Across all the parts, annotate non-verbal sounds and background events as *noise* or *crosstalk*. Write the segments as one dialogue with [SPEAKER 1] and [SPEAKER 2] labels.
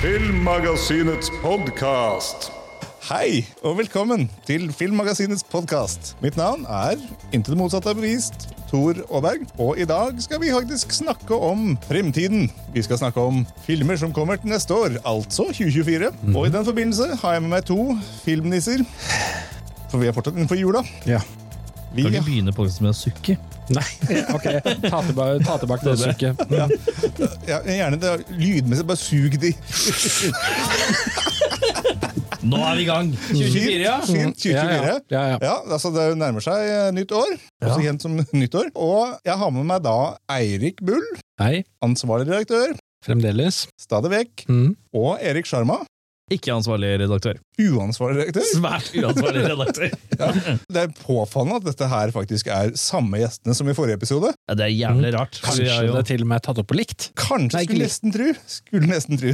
[SPEAKER 1] Filmmagasinets podkast.
[SPEAKER 2] Hei, og velkommen til Filmmagasinets podkast. Mitt navn er Inntil det motsatte er bevist, Tor Aaberg. Og i dag skal vi faktisk snakke om fremtiden. Vi skal snakke om filmer som kommer til neste år, altså 2024.
[SPEAKER 3] Mhm.
[SPEAKER 2] Og i den forbindelse har jeg med meg to filmnisser. For vi er fortsatt innenfor jula.
[SPEAKER 3] Ja.
[SPEAKER 2] Vi,
[SPEAKER 4] Kan ikke begynne på med å sukke.
[SPEAKER 3] Nei, *laughs* ok. Ta tilbake, ta tilbake det stykket. Mm.
[SPEAKER 2] ja, gjerne det lydmessig, bare sug de.
[SPEAKER 4] Nå er vi i
[SPEAKER 2] *laughs*
[SPEAKER 4] gang!
[SPEAKER 3] ja.
[SPEAKER 2] Skyt, skyt
[SPEAKER 3] Mhm. Ja,
[SPEAKER 2] 24.
[SPEAKER 3] ja. Ja, ja.
[SPEAKER 2] altså Det nærmer seg eh, nytt år, også kjent som nyttår. Og jeg har med meg da Eirik Bull,
[SPEAKER 3] Hei,
[SPEAKER 2] ansvarlig redaktør,
[SPEAKER 3] fremdeles.
[SPEAKER 2] stadig vekk,
[SPEAKER 3] Mm.
[SPEAKER 2] og Erik Sjarma,
[SPEAKER 4] Ikke ansvarlig redaktør.
[SPEAKER 2] uansvarlig redaktør.
[SPEAKER 4] Svært uansvarlig redaktør.
[SPEAKER 2] Det er påfallende at dette her faktisk er samme gjestene som i forrige episode.
[SPEAKER 4] Ja, det er jævlig
[SPEAKER 2] Mm.
[SPEAKER 4] rart. Vi,
[SPEAKER 3] Kanskje
[SPEAKER 4] er jo,
[SPEAKER 3] det til og med er tatt opp på likt.
[SPEAKER 2] Kanskje
[SPEAKER 3] Nei, ikke
[SPEAKER 2] skulle
[SPEAKER 3] litt.
[SPEAKER 2] nesten tru. Skulle nesten tru.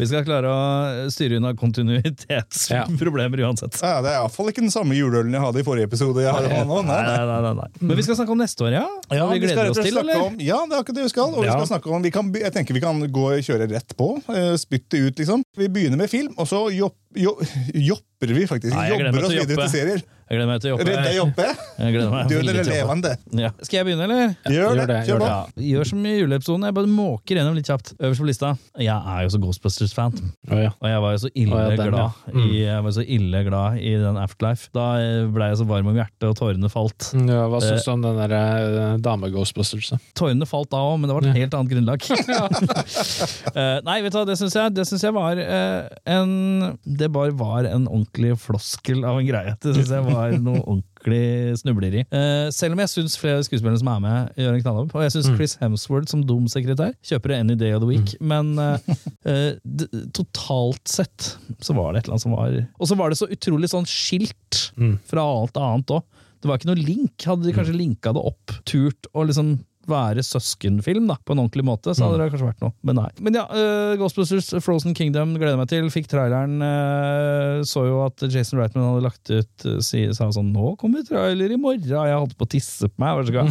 [SPEAKER 4] vi skal klare å styre unna
[SPEAKER 3] Ja.
[SPEAKER 4] kontinuitetsproblemer uansett.
[SPEAKER 2] Ja, det er iallfall ikke den samme juleølen jeg hadde i forrige episode. jeg har med nå,
[SPEAKER 4] Nei,
[SPEAKER 2] nei.
[SPEAKER 4] nei, nei, nei, nei. Men vi skal snakke om neste år, ja?
[SPEAKER 2] Ja,
[SPEAKER 4] vi
[SPEAKER 2] skal
[SPEAKER 4] gleder
[SPEAKER 2] rett og
[SPEAKER 4] oss
[SPEAKER 2] slett
[SPEAKER 4] til,
[SPEAKER 2] snakke
[SPEAKER 4] eller?
[SPEAKER 2] Om, ja, det er akkurat det vi skal. Og vi
[SPEAKER 3] Ja.
[SPEAKER 2] skal snakke om, vi kan, be- jeg tenker vi kan gå og kjøre rett på. eh, Spytte ut, liksom. Vi begynner med film, og så jopp, jopp, jopper vi faktisk.
[SPEAKER 4] Nei, jeg gleder meg
[SPEAKER 2] jobber oss
[SPEAKER 4] til å
[SPEAKER 2] videre
[SPEAKER 4] joppe.
[SPEAKER 2] til serier.
[SPEAKER 4] Jeg gleder meg til å jobbe.
[SPEAKER 2] Redde joppe.
[SPEAKER 4] Jeg gleder meg
[SPEAKER 2] Du
[SPEAKER 4] veldig
[SPEAKER 2] er
[SPEAKER 4] til å jobbe.
[SPEAKER 2] levende.
[SPEAKER 4] Ja. Skal jeg begynne, eller?
[SPEAKER 2] Gjør
[SPEAKER 3] gjør
[SPEAKER 2] det.
[SPEAKER 3] det,
[SPEAKER 2] Kjør
[SPEAKER 3] gjør
[SPEAKER 2] på.
[SPEAKER 4] Ja. Gjør som i juleepisoden. Jeg bare måker gjennom litt kjapt. Øverst på lista. Jeg er jo så Ghostbusters-fan.
[SPEAKER 3] Å, ja.
[SPEAKER 4] Og jeg var jo så ille,
[SPEAKER 3] Å, ja, den,
[SPEAKER 4] glad,
[SPEAKER 3] ja. Mm.
[SPEAKER 4] i, jeg var så ille glad i den Afterlife. Da eh, ble jeg så varm om hjertet, og tårene falt.
[SPEAKER 3] Mm, Ja, Hva syns du om den der eh, dame-ghostbusters? da?
[SPEAKER 4] Tårene falt da òg, men det var et
[SPEAKER 3] Ja.
[SPEAKER 4] helt annet grunnlag. *laughs* Eh, Nei, vet du hva, det syns jeg, det synes jeg var eh, en Det bare var en ordentlig floskel av en greie. Det syns jeg var noe ordentlig snubleri. Eh, selv om jeg syns flere skuespillere som er med, gjør en knalljobb. Og jeg syns Chris Hemsworth som domsekretær kjøper det any day of the week. Men eh, eh, d totalt sett så var det et eller annet som var Og så var det så utrolig sånn skilt fra alt annet òg. Det var ikke noe link. Hadde de kanskje linka det opp, turt å liksom være søskenfilm da, på en ordentlig måte, så hadde det kanskje vært noe. Men nei. Men ja, eh, Ghostbusters Frozen Kingdom gleder jeg meg til. Fikk traileren. eh, så jo at Jason Reitman hadde lagt ut eh, si, sa sånn 'Nå kommer trailer i morgen', jeg holdt på å tisse på meg. Var så gal.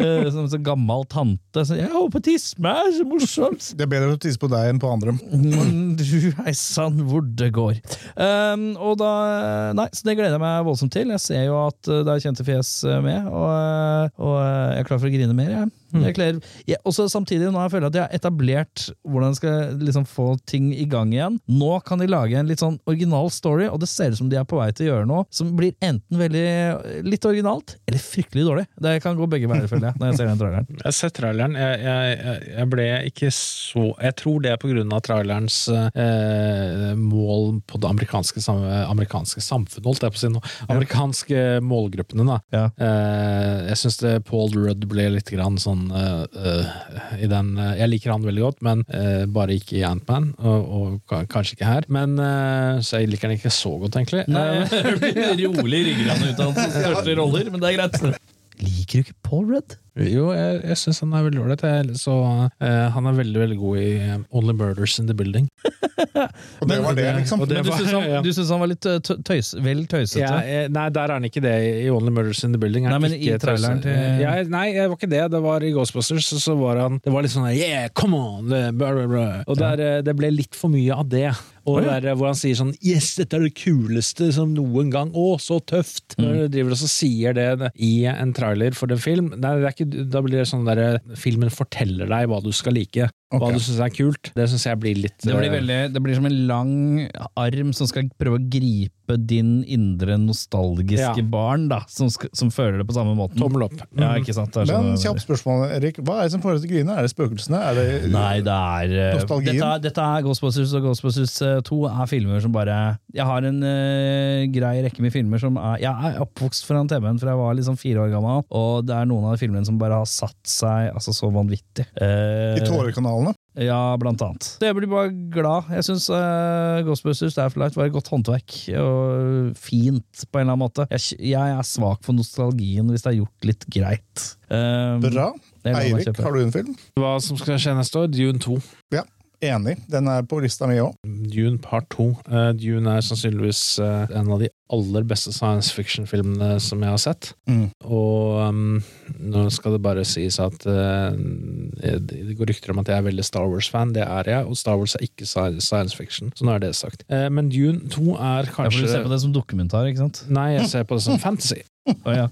[SPEAKER 4] Eh, som en sånn gammel tante. Så, 'Jeg holdt på å tisse på meg, så morsomt'.
[SPEAKER 2] Det er bedre å tisse på deg enn på andre.
[SPEAKER 4] Mm. Men du, hei sann, hvor det går. Ehm, og da Nei, så det gleder jeg meg voldsomt til. Jeg ser jo at eh, det er kjente fjes eh, med, og, eh, og eh, jeg er klar for å grine mer, jeg. jeg klarer, jeg også samtidig, nå har jeg føler at jeg har etablert hvordan jeg skal liksom få ting i gang igjen. Nå kan de lage en litt sånn original story, og det ser ut som de er på vei til å gjøre noe som blir enten veldig eh, litt originalt, eller fryktelig dårlig. Det kan gå begge veier, føler jeg, når jeg ser den traileren.
[SPEAKER 3] Jeg har sett traileren. Jeg, jeg, jeg- jeg ble ikke så Jeg tror det er på grunn av trailerens eh, mål på det amerikanske, sam, amerikanske samfunnet, holdt jeg på å si nå. Amerikanske målgruppene, da.
[SPEAKER 4] Ja.
[SPEAKER 3] Eh, jeg syns Paul Rudd ble litt grann sånn eh, eh, i den eh, Jeg liker han veldig godt, men eh, bare ikke i Antman, og, og ka- kanskje ikke her. Men eh, Så jeg liker han ikke så godt, egentlig.
[SPEAKER 4] *laughs*
[SPEAKER 3] Eh,
[SPEAKER 4] Rolig ryggrad ut av hans største roller, men det er greit. Liker du ikke Paul Rudd?
[SPEAKER 3] Jo, jeg, jeg syns han er veldig ålreit. jeg. Så, eh, Han er veldig veldig god i eh, Only Murders in the Building.
[SPEAKER 2] Og det var det, liksom.
[SPEAKER 3] Og det
[SPEAKER 4] Men du
[SPEAKER 3] var-
[SPEAKER 4] syns han,
[SPEAKER 3] *laughs* ja.
[SPEAKER 4] du syns han var litt eh, tø- tøys, vel tøysete?
[SPEAKER 3] Ja, eh, nei, der er han ikke det. I Only Murders in the Building er
[SPEAKER 4] Nei,
[SPEAKER 3] han
[SPEAKER 4] men
[SPEAKER 3] ikke
[SPEAKER 4] i traileren
[SPEAKER 3] trause.
[SPEAKER 4] til-
[SPEAKER 3] ja, Nei, det var ikke det. Det var i Ghostbusters, så, så var han Det var litt sånn der, Yeah, come on! eh, Blah, blah, blah. Og der, eh, det ble litt for mye av det. Og
[SPEAKER 4] Å, ja.
[SPEAKER 3] der, eh, hvor han sier sånn Yes, dette er det kuleste som noen gang! Å, så tøft!
[SPEAKER 4] Mm.
[SPEAKER 3] Når du driver og så sier det det i en trailer for en film, nei, det er ikke, da blir det sånn derre Filmen forteller deg hva du skal like. Hva
[SPEAKER 2] Ok.
[SPEAKER 3] du syns er kult. Det syns jeg blir litt
[SPEAKER 4] Det blir,
[SPEAKER 3] eh,
[SPEAKER 4] veldig, det blir som en lang arm som skal prøve å gripe din indre nostalgiske
[SPEAKER 3] Ja.
[SPEAKER 4] barn, da, som, sk- som føler det på samme måten.
[SPEAKER 3] Tommel opp.
[SPEAKER 4] Ja, ikke sant? Det er sånn-
[SPEAKER 2] Men kjapt spørsmål, Erik. Hva er det som får deg til å grine? Er det spøkelsene? Er det
[SPEAKER 4] Nei, det er eh,
[SPEAKER 2] Nostalgien?
[SPEAKER 4] Dette, er- dette er Ghostbusters og Ghostbusters eh, 2 er filmer som bare Jeg har en eh, grei rekke med filmer som er Jeg er oppvokst foran TV-en fra jeg var liksom fire år gammel, og det er noen av de filmene som bare har satt seg altså, så vanvittig. Eh,
[SPEAKER 2] i tårekanalene?
[SPEAKER 4] ja, blant annet. Så jeg blir bare glad. Jeg syns eh, Ghostbusters The Afterlife var et godt håndverk, og fint på en eller annen måte. Jeg, jeg er svak for nostalgien hvis det er gjort litt greit. Eh,
[SPEAKER 2] Bra.
[SPEAKER 4] det lar meg
[SPEAKER 2] Eirik,
[SPEAKER 4] kjøpe.
[SPEAKER 2] har du en film?
[SPEAKER 3] Hva som skal skje neste år? Dune 2.
[SPEAKER 2] Ja. Enig. Den er på lista mi òg.
[SPEAKER 3] Dune part 2. Eh, Dune er sannsynligvis eh, en av de aller beste science fiction-filmene som jeg har sett.
[SPEAKER 2] Mm.
[SPEAKER 3] Og ehm, nå skal det bare sies at eh, det går rykter om at jeg er veldig Star Wars-fan. Det er jeg, og Star Wars er ikke sci- science fiction. Så nå er det sagt. Eh, men Dune 2 er
[SPEAKER 4] Ja, for du ser
[SPEAKER 3] kanskje
[SPEAKER 4] på det som dokumentar, ikke sant?
[SPEAKER 3] Nei, jeg ser på det som fantasy.
[SPEAKER 4] Å, ja.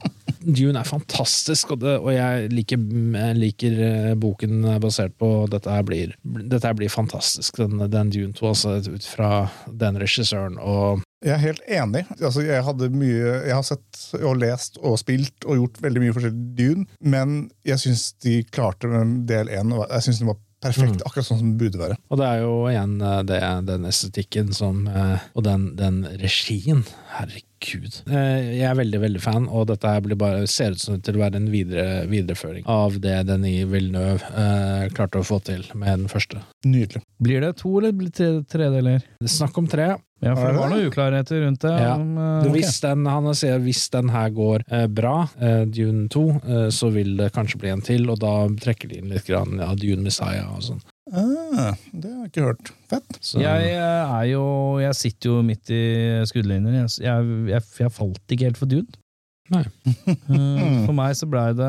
[SPEAKER 3] Dune er fantastisk, og, det, og jeg liker, jeg liker eh, boken basert på Dette her blir, dette her blir fantastisk, den, den Dune 2, altså ut fra den regissøren. Og
[SPEAKER 2] Jeg er helt enig. Altså, jeg, hadde mye, jeg har sett og lest og spilt og gjort veldig mye forskjellig Dune, men jeg syns de klarte med del én. og Jeg syns den var perfekt, akkurat sånn som den burde være.
[SPEAKER 3] Og det er jo igjen eh, det, den estetikken som eh, Og den, den regien. Herregud. Eh, Jeg er veldig, veldig fan, og dette her blir bare, ser ut som til å være en videre, videreføring av det Denis Villeneuve eh, klarte å få til med den første.
[SPEAKER 2] Nydelig.
[SPEAKER 4] Blir det to eller blir det tre, tre deler?
[SPEAKER 3] Snakk om tre.
[SPEAKER 4] Ja, for
[SPEAKER 2] Er
[SPEAKER 4] det var
[SPEAKER 2] det?
[SPEAKER 4] noen uklarheter rundt det.
[SPEAKER 3] Ja.
[SPEAKER 4] Om, eh,
[SPEAKER 3] Og Hvis den, han sier hvis den her går eh, bra, eh, Dune 2, eh, så vil det kanskje bli en til, og da trekker de inn litt grann, ja, Dune Messiah og sånn.
[SPEAKER 2] Ah, det har jeg ikke hørt. Fett.
[SPEAKER 3] Så,
[SPEAKER 4] Jeg eh, er jo Jeg sitter jo midt i skuddlinjer. Jeg, jeg, jeg, jeg falt ikke helt for Dune.
[SPEAKER 3] Nei.
[SPEAKER 4] Eh, For meg så blei det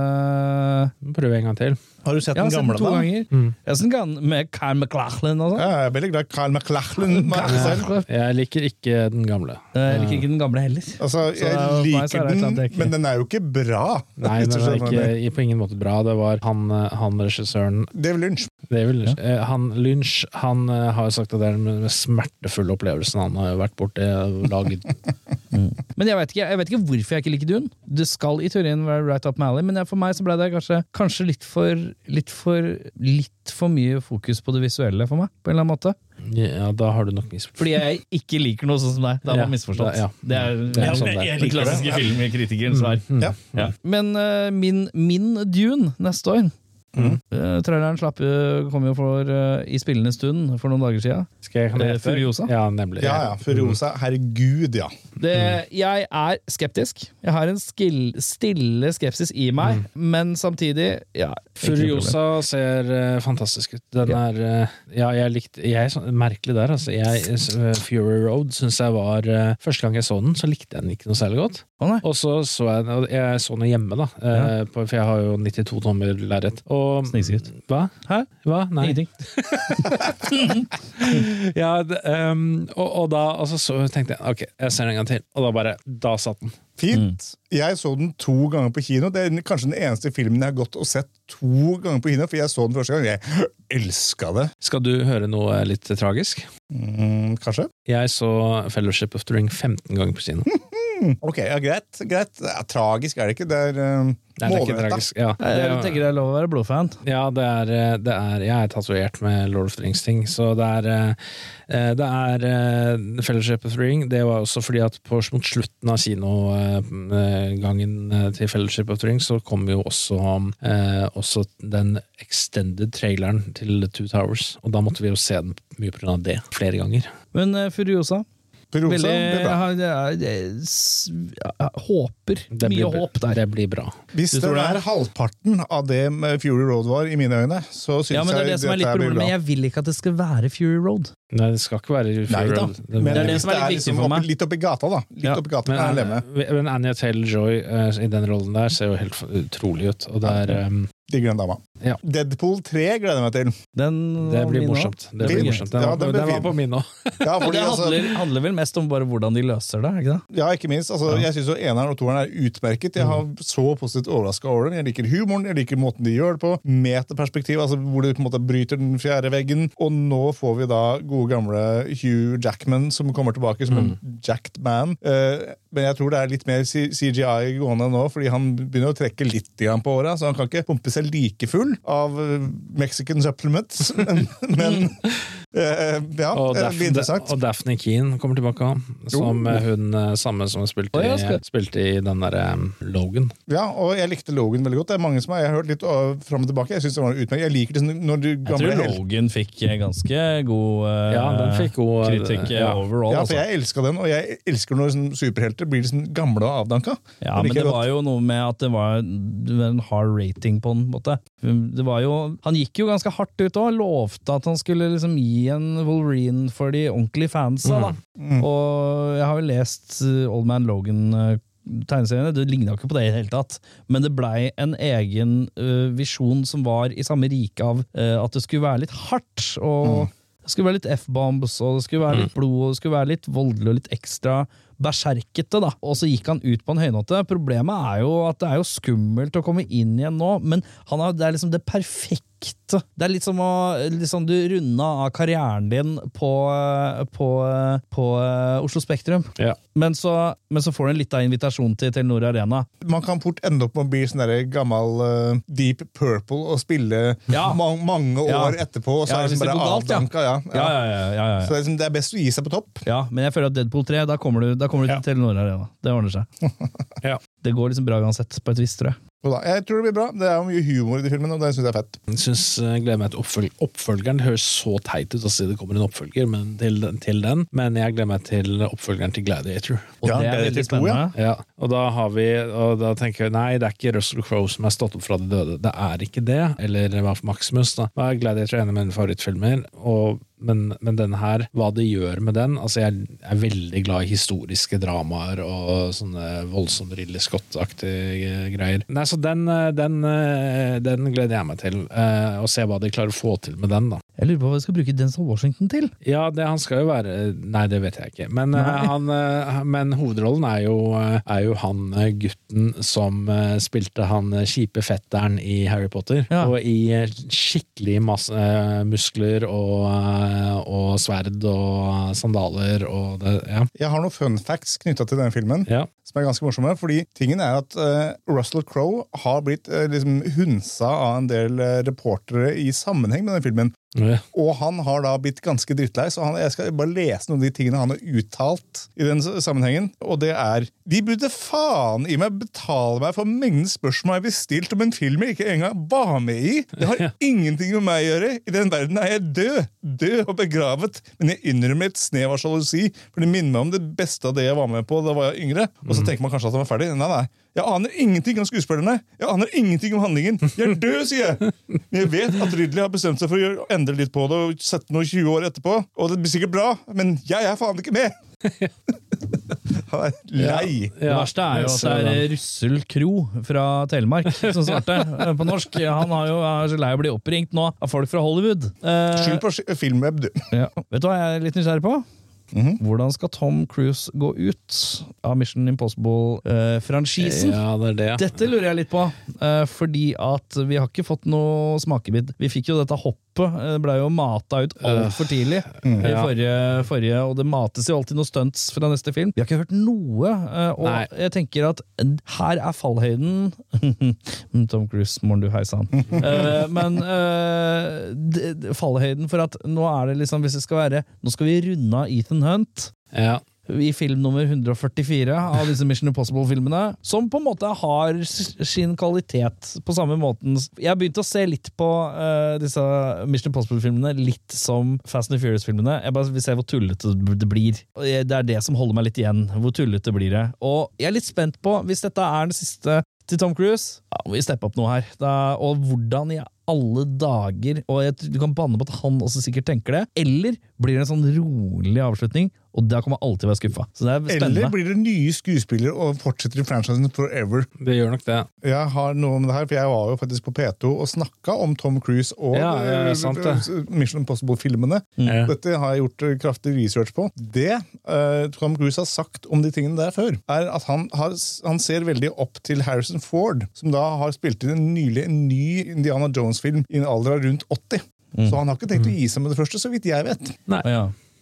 [SPEAKER 3] Prøv en gang til.
[SPEAKER 2] Har du *laughs* sett
[SPEAKER 4] Jeg har
[SPEAKER 2] den
[SPEAKER 4] sett den
[SPEAKER 2] gamle,
[SPEAKER 4] to
[SPEAKER 2] da?
[SPEAKER 4] ganger.
[SPEAKER 3] Mm.
[SPEAKER 4] Jeg har sett den gan- sånn med Kyle McLachlan og sånn.
[SPEAKER 2] Ja, jeg er veldig glad i Carl McLachlan. må jeg si selv.
[SPEAKER 3] Jeg liker ikke den gamle.
[SPEAKER 4] Eh, Jeg liker ikke den gamle heller.
[SPEAKER 2] Altså,
[SPEAKER 4] Så
[SPEAKER 2] jeg
[SPEAKER 4] for meg så er
[SPEAKER 2] liker
[SPEAKER 4] det et eller
[SPEAKER 2] den,
[SPEAKER 4] annet jeg ikke-
[SPEAKER 2] men den er jo ikke bra.
[SPEAKER 3] *laughs* Nei,
[SPEAKER 2] hvis
[SPEAKER 3] den
[SPEAKER 2] du
[SPEAKER 3] er
[SPEAKER 2] skjønner hva jeg
[SPEAKER 3] ikke
[SPEAKER 2] mener.
[SPEAKER 3] i- på ingen måte bra. Det var han, eh, han regissøren
[SPEAKER 2] Dave Lynch.
[SPEAKER 3] David Lynch. Eh, Han, Lynch han eh, har jo sagt at det er den mest smertefulle opplevelsen han har vært borti. eh, og *laughs* laget-
[SPEAKER 4] Men jeg vet, ikke, jeg vet ikke hvorfor jeg ikke liker Dune. Det skal i teorien være right up my alley, men jeg- for meg så ble det kanskje, kanskje litt, for, litt, for, litt for mye fokus på det visuelle for meg. På en eller annen måte
[SPEAKER 3] Ja, da har du nok misforstått.
[SPEAKER 4] Fordi jeg ikke liker noe sånn som deg. Da har man
[SPEAKER 3] Ja,
[SPEAKER 4] misforstått.
[SPEAKER 3] da- ja.
[SPEAKER 4] Det er
[SPEAKER 3] Det er sånn det Mm, er.
[SPEAKER 4] den klassiske filmkritikerens svar.
[SPEAKER 2] Ja.
[SPEAKER 4] Men eh, min, min Dune neste år
[SPEAKER 2] Mm.
[SPEAKER 4] Eh, traileren slapp, jo- kom jo for, eh, i spillende stund for noen dager siden.
[SPEAKER 3] Skal jeg, kan jeg
[SPEAKER 4] Eh,
[SPEAKER 3] gjette?
[SPEAKER 4] Furiosa?
[SPEAKER 3] Ja, nemlig.
[SPEAKER 2] Ja, ja. Furiosa. Herregud, ja.
[SPEAKER 4] Det, Jeg er skeptisk. Jeg har en skill, stille skepsis i meg, men samtidig ja, ikke noe problem.
[SPEAKER 3] Furiosa ser eh, fantastisk ut. Den
[SPEAKER 4] Ja.
[SPEAKER 3] er eh, Ja, jeg likte jeg, så- Merkelig der, altså. Jeg, eh, Fury Road syns jeg var eh, Første gang jeg så den, så likte jeg den ikke noe særlig godt.
[SPEAKER 4] Å, nei.
[SPEAKER 3] Og så så jeg den, og jeg så den hjemme, da. eh, på, for jeg har jo 92 tommer lerret. Og
[SPEAKER 4] Snikskryt.
[SPEAKER 3] Hva?
[SPEAKER 4] Hæ?
[SPEAKER 3] Hva? Nei.
[SPEAKER 4] Ingenting.
[SPEAKER 3] *laughs* Ja, det, ehm, og, og da og så, så tenkte jeg ok, jeg ser den en gang til. Og da bare Da satt den.
[SPEAKER 4] Mm.
[SPEAKER 2] Fint. Jeg så den to ganger på kino. Det er den- kanskje den eneste filmen jeg har gått og sett to ganger på kino. For jeg så den første gang. Jeg elska det.
[SPEAKER 3] Skal du høre noe litt tragisk?
[SPEAKER 2] Mm, kanskje?
[SPEAKER 3] Jeg så Fellowship of the Ring 15 ganger på kino.
[SPEAKER 4] Hm,
[SPEAKER 2] Ok, ja, greit. greit. Det er tragisk er det ikke. Det er uh,
[SPEAKER 3] Nei, det er ikke tragisk. Ja,
[SPEAKER 4] Jeg
[SPEAKER 3] det,
[SPEAKER 4] tenker det er lov å være blodfan.
[SPEAKER 3] Ja, det er, eh, det er Jeg er tatovert med Lord of the Rings-ting. Så det er, eh, det er eh, Fellowship of the Ring. Det var også fordi at på, mot slutten av kinogangen eh, til Fellowship of the Ring, så kom jo også, eh, også den extended traileren til Two Towers. Og da måtte vi jo se den mye pga. det, flere ganger.
[SPEAKER 4] Men eh, Furiosa
[SPEAKER 2] Prosa,
[SPEAKER 4] veldig,
[SPEAKER 2] det er bra.
[SPEAKER 4] jeg, jeg, jeg, s- jeg håper.
[SPEAKER 3] Det
[SPEAKER 4] mye
[SPEAKER 3] blir-
[SPEAKER 4] håp der.
[SPEAKER 3] Det blir bra.
[SPEAKER 2] Hvis
[SPEAKER 4] Du
[SPEAKER 2] det
[SPEAKER 4] tror det
[SPEAKER 2] er
[SPEAKER 4] er-
[SPEAKER 2] halvparten av det med Fury Road var, i mine øyne, så syns
[SPEAKER 4] Ja, men det er
[SPEAKER 2] jeg
[SPEAKER 4] det som er litt
[SPEAKER 2] dette blir
[SPEAKER 4] problemet.
[SPEAKER 2] bra.
[SPEAKER 4] Jeg vil ikke at det skal være Fury Road.
[SPEAKER 3] Nei, det skal ikke være
[SPEAKER 2] Nei da,
[SPEAKER 3] det-
[SPEAKER 2] men
[SPEAKER 4] Det er det
[SPEAKER 2] hvis
[SPEAKER 4] som er litt viktig
[SPEAKER 2] liksom
[SPEAKER 4] for
[SPEAKER 2] oppe-
[SPEAKER 4] meg.
[SPEAKER 2] Litt oppi gata, da. Litt
[SPEAKER 4] Ja,
[SPEAKER 2] oppi gata,
[SPEAKER 3] Men,
[SPEAKER 2] er jeg enig med.
[SPEAKER 3] men Anya Taylor-Joy eh, i den rollen der ser jo helt f- utrolig ut. Og det er eh,
[SPEAKER 2] Digger den dama.
[SPEAKER 3] Ja.
[SPEAKER 2] Deadpool 3 gleder jeg meg til.
[SPEAKER 4] Den
[SPEAKER 3] Det
[SPEAKER 4] var
[SPEAKER 3] blir
[SPEAKER 4] min nå.
[SPEAKER 3] morsomt. Det blir
[SPEAKER 2] Fin.
[SPEAKER 3] morsomt. Den,
[SPEAKER 2] Ja,
[SPEAKER 3] var,
[SPEAKER 2] den blir
[SPEAKER 3] på, den var
[SPEAKER 2] fin.
[SPEAKER 3] på min nå.
[SPEAKER 2] Ja,
[SPEAKER 4] Og
[SPEAKER 2] fordi,
[SPEAKER 4] det
[SPEAKER 2] altså,
[SPEAKER 4] handler, handler vel mest om bare hvordan de løser det? er ikke det?
[SPEAKER 2] Ja, ikke minst. Altså, Jeg synes jo eneren og toeren er utmerket. Jeg har så positivt overraska over dem. Jeg liker humoren, jeg liker måten de gjør det på. Metaperspektiv, altså hvor du på en måte bryter den fjerde veggen. Og nå får vi da gode gamle Hugh Jackman som kommer tilbake som en jacked man. Eh, men jeg tror det er litt mer C- CGI gående nå, fordi han begynner å trekke litt grann på åra. Så han kan ikke pumpe seg like full av eh, Mexican supplements. *laughs* men eh, ja, *laughs*
[SPEAKER 3] Og,
[SPEAKER 2] det
[SPEAKER 3] Daph-
[SPEAKER 2] blir interessant.
[SPEAKER 3] og Daphne Keane kommer tilbake, som eh, hun eh, samme som spilte,
[SPEAKER 4] Å, ja,
[SPEAKER 3] i,
[SPEAKER 4] skal-
[SPEAKER 3] spilte i den derre Logan.
[SPEAKER 2] Ja, og jeg likte Logan veldig godt. Det er mange som har, Jeg har hørt litt av- fram og tilbake. Jeg synes det var utmerket. Jeg liker det sånn når du
[SPEAKER 4] Jeg
[SPEAKER 2] gamle
[SPEAKER 4] tror
[SPEAKER 2] hel-
[SPEAKER 4] Logan fikk eh, ganske god eh,
[SPEAKER 3] Ja, den fikk god eh,
[SPEAKER 4] kritikk eh,
[SPEAKER 3] ja.
[SPEAKER 4] overall.
[SPEAKER 2] Ja,
[SPEAKER 4] altså.
[SPEAKER 2] for jeg elska den, og jeg elsker når sånn superhelter blir liksom gamle og avdanka.
[SPEAKER 4] Ja, men det
[SPEAKER 2] godt.
[SPEAKER 4] var jo noe med at det var det var en hard rating på en måte. Det var jo, han gikk jo ganske hardt ut og lovte at han skulle liksom gi en Wolverine for de ordentlige fansa. Da. Og jeg har jo lest eh, Old Man Logan-tegneseriene. Det ligna ikke på det i det hele tatt. Men det blei en egen eh, visjon som var i samme rike av eh, at det skulle være litt hardt. og Det skulle være litt F-bombs, og det skulle være litt blod, og det skulle være litt voldelig og litt ekstra berserkete. da. Og så gikk han ut på en høynåte. Problemet er jo at det er jo skummelt å komme inn igjen nå, men han har, det er liksom det perfekte. Det er litt som å liksom du runda av karrieren din på, eh, på, eh, på eh, Oslo Spektrum.
[SPEAKER 3] Ja.
[SPEAKER 4] Men så, men så får du en liten invitasjon til Telenor Arena.
[SPEAKER 2] Man kan fort ende opp med å bli sånn der gammel eh, Deep Purple og spille
[SPEAKER 4] Ja.
[SPEAKER 2] ma mange
[SPEAKER 4] Ja.
[SPEAKER 2] år etterpå, og så
[SPEAKER 4] Ja,
[SPEAKER 2] er det liksom
[SPEAKER 4] hvis
[SPEAKER 2] bare
[SPEAKER 4] det går galt, ja.
[SPEAKER 2] avdanka. Ja. Ja.
[SPEAKER 4] ja, ja, ja, ja.
[SPEAKER 2] Så det er, liksom, det er best å gi seg på topp.
[SPEAKER 4] Ja, men jeg føler at Deadpool 3, da kommer du, da kommer du
[SPEAKER 3] Ja.
[SPEAKER 4] til Telenor Arena. Det ordner *laughs* seg.
[SPEAKER 3] Ja.
[SPEAKER 4] Det går liksom bra uansett, på et vis, tror jeg.
[SPEAKER 2] Og da, jeg tror det blir bra. Det er jo mye humor i de filmene, og det syns jeg er fett.
[SPEAKER 3] Jeg synes, jeg gleder meg til oppfølg oppfølgeren. Det høres så teit ut å si det kommer en oppfølger men til, til den, men jeg gleder meg til oppfølgeren til Gladiator.
[SPEAKER 4] Og
[SPEAKER 2] Ja,
[SPEAKER 4] det er
[SPEAKER 2] Gladiator 2,
[SPEAKER 4] veldig
[SPEAKER 2] ja.
[SPEAKER 4] spennende.
[SPEAKER 3] Ja, og da har vi Og da tenker jeg nei, det er ikke Russell Crowe som er stått opp fra de døde. Det er ikke det. Eller Ralph Maximus, da. Da er Gladiator en av mine favorittfilmer. Og, men, men denne her, hva det gjør med den Altså, jeg er veldig glad i historiske dramaer og sånne voldsomme Ridley Scott-aktige greier. Nei, så den, eh, den, eh, den gleder jeg meg til. eh, Å se hva de klarer å få til med den, da.
[SPEAKER 4] Jeg lurer på hva vi skal bruke Denzel Washington til.
[SPEAKER 3] Ja, det, han skal jo være Nei, det vet jeg ikke. Men, eh, han, eh, men hovedrollen er jo, eh, er jo han eh, gutten som eh, spilte han eh, kjipe fetteren i Harry Potter.
[SPEAKER 4] Ja.
[SPEAKER 3] Og i eh, skikkelig masse eh, muskler og, eh, og sverd og eh, sandaler og det Ja.
[SPEAKER 2] Jeg har noen fun facts knytta til denne filmen.
[SPEAKER 3] ja.
[SPEAKER 2] som er ganske morsomme. fordi tingen er at eh, Russell Crowe har blitt eh, liksom hunsa av en del eh, reportere i sammenheng med den filmen.
[SPEAKER 3] ja.
[SPEAKER 2] Og han har da blitt ganske drittlei, så han, jeg skal bare lese noen av de tingene han har uttalt. i den s- sammenhengen, Og det er De burde faen i meg betale meg for mengden spørsmål jeg blir stilt om en film jeg ikke engang var med i! Det har
[SPEAKER 3] Ja.
[SPEAKER 2] ingenting med meg å gjøre! I den verden er jeg død! Død og begravet. Men jeg innrømmer et snev av sjalusi, for det minner meg om det beste av det jeg var med på da var jeg yngre. Og så tenker man kanskje at han var ferdig. Nei, nei. Jeg aner ingenting om skuespillerne. Jeg aner ingenting om handlingen. Jeg er død, sier jeg! Men jeg vet at Ridley har bestemt seg for å gjøre- endre litt på det og sette noe 20 år etterpå. Og det blir sikkert bra, men jeg er faen ikke med! Han er lei.
[SPEAKER 4] Det
[SPEAKER 3] Ja,
[SPEAKER 4] verste er jo
[SPEAKER 3] så
[SPEAKER 4] at det
[SPEAKER 3] den.
[SPEAKER 4] er Russel Kro fra Telemark som svarte eh, på norsk. Han har jo, er så lei av å bli oppringt nå av folk fra Hollywood. Eh,
[SPEAKER 2] Skyld på sk- Filmweb, du.
[SPEAKER 4] ja. Vet du hva jeg er litt nysgjerrig på? Hvordan skal Tom Cruise gå ut av Mission eh, Impossible-franchisen?
[SPEAKER 3] ja, det er det.
[SPEAKER 4] Dette lurer jeg litt på, eh, fordi at vi har ikke fått noe smakebit. Vi fikk jo dette hoppet, eh, det ble jo mata ut altfor tidlig i
[SPEAKER 3] Ja.
[SPEAKER 4] forrige, forrige, og det mates jo alltid noen stunts fra neste film. Vi har ikke hørt noe, eh, og
[SPEAKER 3] Nei.
[SPEAKER 4] jeg tenker at her er fallhøyden *laughs* Mm, Tom Cruise, morgen du, hei *laughs* sann. Eh, Men eh, d- d- fallhøyden for at nå er det liksom, hvis det skal være, nå skal vi runde av Ethan Hunt
[SPEAKER 3] Ja.
[SPEAKER 4] i film nummer 144 av disse Mission Impossible-filmene, som på en måte har s- sin kvalitet på samme måten. Jeg begynte å se litt på eh, disse Mission Impossible-filmene litt som Fast and Furious-filmene. Jeg bare vil se hvor tullete det blir. Og jeg- Det er det som holder meg litt igjen. Hvor tullete blir det? Og jeg er litt spent på, hvis dette er den siste til Tom Cruise ja, må vi steppe opp noe her. Da, og hvordan i alle dager Og jeg, Du kan banne på at han også sikkert tenker det. Eller blir det en sånn rolig avslutning, og da kommer jeg alltid være skuffa. Så det er
[SPEAKER 2] Eller
[SPEAKER 4] spennende.
[SPEAKER 2] blir det nye skuespillere og fortsetter i franchisen forever?
[SPEAKER 3] Det gjør nok det.
[SPEAKER 2] Jeg har noe om det her, for jeg var jo faktisk på P2 og snakka om Tom Cruise og
[SPEAKER 3] Ja, ja, ja,
[SPEAKER 2] eh,
[SPEAKER 3] sant det. Mm.
[SPEAKER 2] Mission Impossible-filmene.
[SPEAKER 3] Ja.
[SPEAKER 2] Dette har jeg gjort eh, kraftig research på. Det eh, Tom Cruise har sagt om de tingene der før, er at han, har, han ser veldig opp til Harrison Ford, som da har spilt inn en nylig en ny Indiana Jones-film i en alder av rundt 80.
[SPEAKER 3] Mm.
[SPEAKER 2] Så han har ikke tenkt å gi seg med det første, så vidt jeg vet.
[SPEAKER 4] Ja.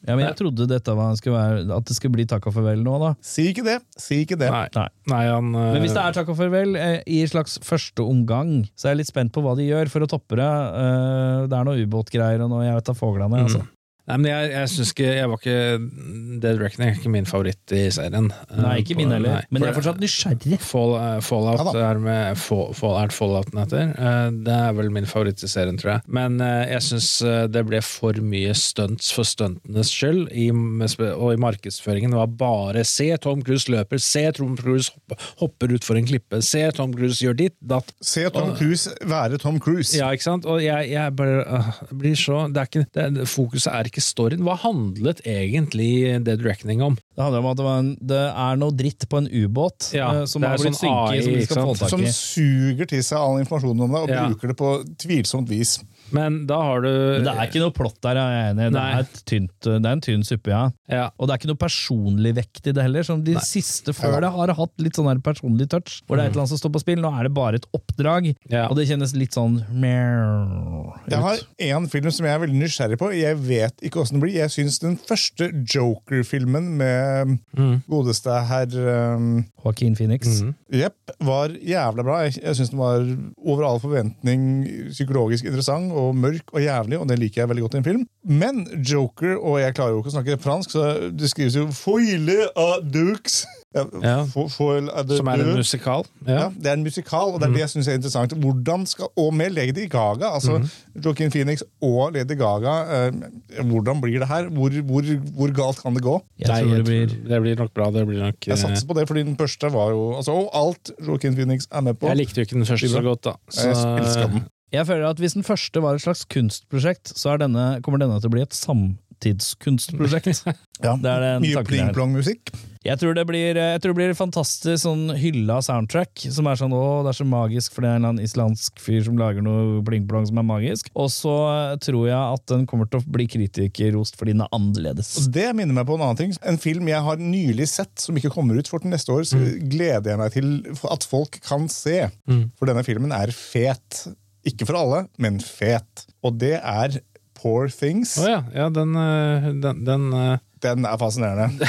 [SPEAKER 4] ja, men jeg trodde dette var, skulle være, at det skulle bli takk og farvel nå, da.
[SPEAKER 2] Si ikke det. Si ikke det.
[SPEAKER 3] Nei.
[SPEAKER 4] Nei.
[SPEAKER 3] Nei, han eh,
[SPEAKER 4] Men hvis det er takk og farvel eh, i slags første omgang, så er jeg litt spent på hva de gjør for å toppe det. Eh, Det er noe ubåtgreier og noe jeg vet av foglene. Altså.
[SPEAKER 3] Nei, men jeg, jeg synes ikke jeg var ikke Dead Reckoning er ikke min favoritt i serien.
[SPEAKER 4] Mm. Nei,
[SPEAKER 3] Eh,
[SPEAKER 4] ikke
[SPEAKER 3] på-
[SPEAKER 4] min heller.
[SPEAKER 3] nei,
[SPEAKER 4] Men
[SPEAKER 3] for-
[SPEAKER 4] jeg er fortsatt nysgjerrig.
[SPEAKER 3] Fall, eh, Fallout
[SPEAKER 2] Ja
[SPEAKER 3] er, med, fall, fall, er Fallouten heter. Eh, Det er vel min favoritt i serien, tror jeg. Men eh, jeg syns det ble for mye stunts for stuntenes skyld, i, med spe- og i markedsføringen. Det var bare 'se Tom Cruise løper', 'se Tom Cruise hopp- hopper utfor en klippe', 'se Tom Cruise gjør ditt', datt
[SPEAKER 2] Se Tom Cruise være Tom Cruise.
[SPEAKER 3] ja, ikke sant? Og jeg, jeg bare øh, blir så det er ikke, det, er- Fokuset er ikke storyen. Hva handlet egentlig Dead Reckoning om?
[SPEAKER 4] Det handler om at det, var en, det er noe dritt på en ubåt
[SPEAKER 3] Ja,
[SPEAKER 4] eh, som
[SPEAKER 3] det er
[SPEAKER 4] har blitt
[SPEAKER 3] sånn
[SPEAKER 4] synket,
[SPEAKER 3] AI,
[SPEAKER 4] som de
[SPEAKER 3] ikke
[SPEAKER 4] skal få
[SPEAKER 3] sant?
[SPEAKER 4] tak
[SPEAKER 2] Som
[SPEAKER 4] i.
[SPEAKER 2] suger til seg all informasjonen om deg og
[SPEAKER 3] Ja.
[SPEAKER 2] bruker det på tvilsomt vis.
[SPEAKER 3] Men da har du
[SPEAKER 4] Men det er ikke noe plott der, jeg er enig. i. Det
[SPEAKER 3] Nei.
[SPEAKER 4] er, et tynt, det er en tynn suppe, ja.
[SPEAKER 3] ja,
[SPEAKER 4] Og det er ikke noe personlig vekt i det heller. Som de siste før det har hatt litt sånn her personlig touch. Hvor det er et eller annet som står på spill. Nå er det bare et oppdrag,
[SPEAKER 3] ja.
[SPEAKER 4] og det kjennes litt sånn meow ut.
[SPEAKER 2] Jeg har én film som jeg er veldig nysgjerrig på. Jeg vet ikke åssen den blir. Jeg syns den første Joker-filmen med um,
[SPEAKER 3] Mm.
[SPEAKER 2] godeste herr um,
[SPEAKER 4] Joaquin Phoenix.
[SPEAKER 2] Jepp var jævla bra. Jeg, jeg syns den var over all forventning psykologisk interessant og mørk og jævlig, og det liker jeg veldig godt i en film. Men Joker, og jeg klarer jo ikke å snakke fransk, så det skrives jo Foile à deux.
[SPEAKER 3] Ja.
[SPEAKER 2] Foile à deux.
[SPEAKER 3] Som er en musikal.
[SPEAKER 2] Mm. Ja,
[SPEAKER 3] Ja. Mm.
[SPEAKER 2] det er en musikal, og det er det jeg synes er interessant. Hvordan skal, Og med Lady Gaga, altså
[SPEAKER 3] Mm.
[SPEAKER 2] Joaquin Phoenix og Lady Gaga. Eh, hvordan blir det her? Hvor, hvor, hvor galt kan det gå?
[SPEAKER 4] Jeg
[SPEAKER 3] Nei,
[SPEAKER 4] tror det
[SPEAKER 3] jeg
[SPEAKER 4] blir
[SPEAKER 3] tror- det blir nok bra. Det blir nok,
[SPEAKER 2] Jeg
[SPEAKER 3] eh,
[SPEAKER 2] satser på det, fordi den første var jo altså, Og alt Joaquin Phoenix er med på.
[SPEAKER 3] jeg likte jo ikke den første så godt, da. Så, eh,
[SPEAKER 2] Jeg elsker
[SPEAKER 3] *laughs*
[SPEAKER 2] den.
[SPEAKER 4] Jeg føler at hvis den første var et slags kunstprosjekt, så er denne, kommer denne til å bli et
[SPEAKER 3] *laughs*
[SPEAKER 4] samtidskunstprosjekt.
[SPEAKER 2] *laughs*
[SPEAKER 4] det er den
[SPEAKER 2] Mye
[SPEAKER 4] tanken her.
[SPEAKER 2] pling-plong-musikk.
[SPEAKER 4] Jeg tror det blir, eh, jeg tror det blir fantastisk sånn hylla soundtrack, som er sånn å, det er så magisk, for det er en eller annen islandsk fyr som lager noe bling-blong som er magisk. Og så eh, tror jeg at den kommer til å bli kritikerrost fordi den er annerledes.
[SPEAKER 2] Og Det minner meg på en annen ting. En film jeg har nylig sett, som ikke kommer ut for til neste år, så
[SPEAKER 3] Mm.
[SPEAKER 2] gleder jeg meg til at folk kan se. For denne filmen er fet. Ikke for alle, men fet. Og det er Poor Things.
[SPEAKER 3] Å ja, ja den, eh, den, den, eh, *laughs*
[SPEAKER 2] Den er fascinerende.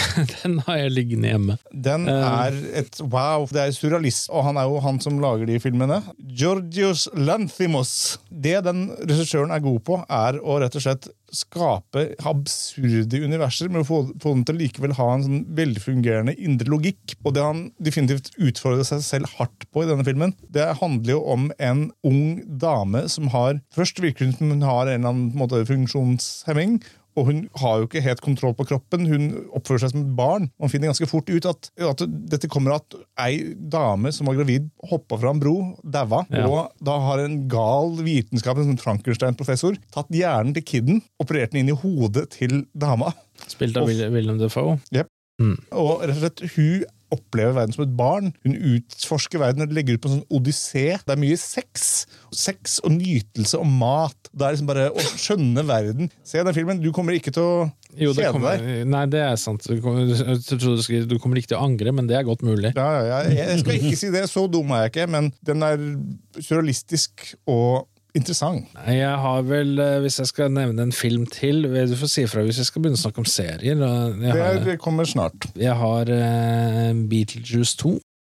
[SPEAKER 3] den har jeg liggende hjemme.
[SPEAKER 2] Den
[SPEAKER 3] Eh.
[SPEAKER 2] er et wow. Det er surrealist, og han er jo han som lager de filmene. Georgios Lanthimos. Det den regissøren er god på, er å rett og slett skape absurde universer, men få, få dem til å likevel ha en sånn velfungerende indre logikk. Og det han definitivt utfordrer seg selv hardt på i denne filmen, det handler jo om en ung dame som har Først virker hun som hun har en eller annen på en måte, funksjonshemming, og hun har jo ikke helt kontroll på kroppen. Hun oppfører seg som et barn. Man finner ganske fort ut at, at dette kommer at ei dame som var gravid, hoppa fra en bro, daua,
[SPEAKER 3] Ja.
[SPEAKER 2] og da har en gal vitenskap, en sånn Frankenstein-professor, tatt hjernen til kiden, operert den inn i hodet til dama.
[SPEAKER 3] Spilt av
[SPEAKER 2] Uff.
[SPEAKER 3] Will- William Defoe.
[SPEAKER 2] Og rett og slett, hun opplever verden som et barn. Hun utforsker verden og legger ut på en sånn odyssé. Det er mye sex. Sex og nytelse og mat. Det er liksom bare å skjønne verden. Se den filmen. Du kommer ikke til å
[SPEAKER 3] Jo, det
[SPEAKER 2] kjede
[SPEAKER 3] kommer,
[SPEAKER 2] deg.
[SPEAKER 3] nei, det er sant. Du kommer, jeg trodde du, skulle- du kommer ikke til å angre, men det er godt mulig.
[SPEAKER 2] Ja, ja, jeg, jeg skal ikke si det. Så dum er jeg ikke, men den er surrealistisk og interessant.
[SPEAKER 3] Nei, Jeg har vel, eh, hvis jeg skal nevne en film til eh, Du får si ifra hvis jeg skal begynne å snakke om serier. og Jeg har,
[SPEAKER 2] Det kommer snart.
[SPEAKER 3] jeg har eh, Beetlejuice 2.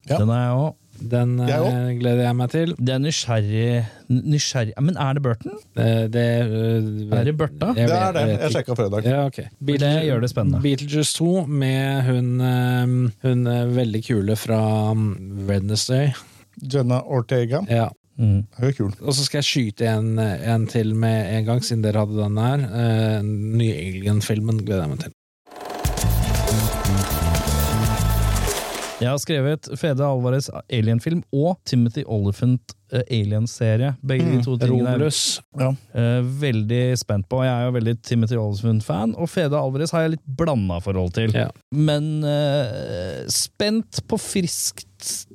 [SPEAKER 2] Ja.
[SPEAKER 4] Den er jeg òg.
[SPEAKER 3] Den eh,
[SPEAKER 2] Jeg også.
[SPEAKER 3] gleder jeg meg til.
[SPEAKER 4] Det er nysgjerrig, nysgjerrig Men er det Burton?
[SPEAKER 3] Eh, Det eh,
[SPEAKER 4] Er det
[SPEAKER 3] vet-
[SPEAKER 4] Børta?
[SPEAKER 3] jeg
[SPEAKER 2] Det
[SPEAKER 3] vet-
[SPEAKER 2] er det.
[SPEAKER 3] vet
[SPEAKER 2] Jeg
[SPEAKER 3] ikke.
[SPEAKER 2] sjekka fredag.
[SPEAKER 3] Ja, ok.
[SPEAKER 4] det gjør det spennende.
[SPEAKER 3] Beetlejuice 2 med hun, eh, hun eh, veldig kule fra mm, Wednesday.
[SPEAKER 2] Jenna Ortega.
[SPEAKER 3] Ja.
[SPEAKER 4] Mm.
[SPEAKER 2] Hun er kul.
[SPEAKER 3] Og så skal jeg skyte en, uh, en til med en gang, siden dere hadde den her. Eh, Den nye Alien-filmen gleder jeg meg til.
[SPEAKER 4] Jeg har skrevet Fede Alvarez Alien-film og Timothy Oliphant eh, Alien-serie. Begge de to tingene er
[SPEAKER 3] Mm. Romulus.
[SPEAKER 4] Eh, veldig spent på. Jeg er jo veldig Timothy Olsmund-fan, og Fede Alvarez har jeg litt blanda forhold til.
[SPEAKER 3] Ja.
[SPEAKER 4] Men eh, spent på friskt,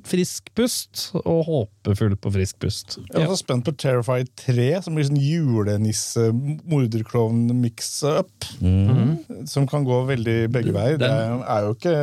[SPEAKER 4] frisk pust, og håpefull på frisk pust.
[SPEAKER 2] Jeg er også spent på Terrify 3, som blir sånn julenisse-morderklovn-mix-up.
[SPEAKER 4] Mm.
[SPEAKER 2] Som kan gå veldig begge veier. Det er er jo ikke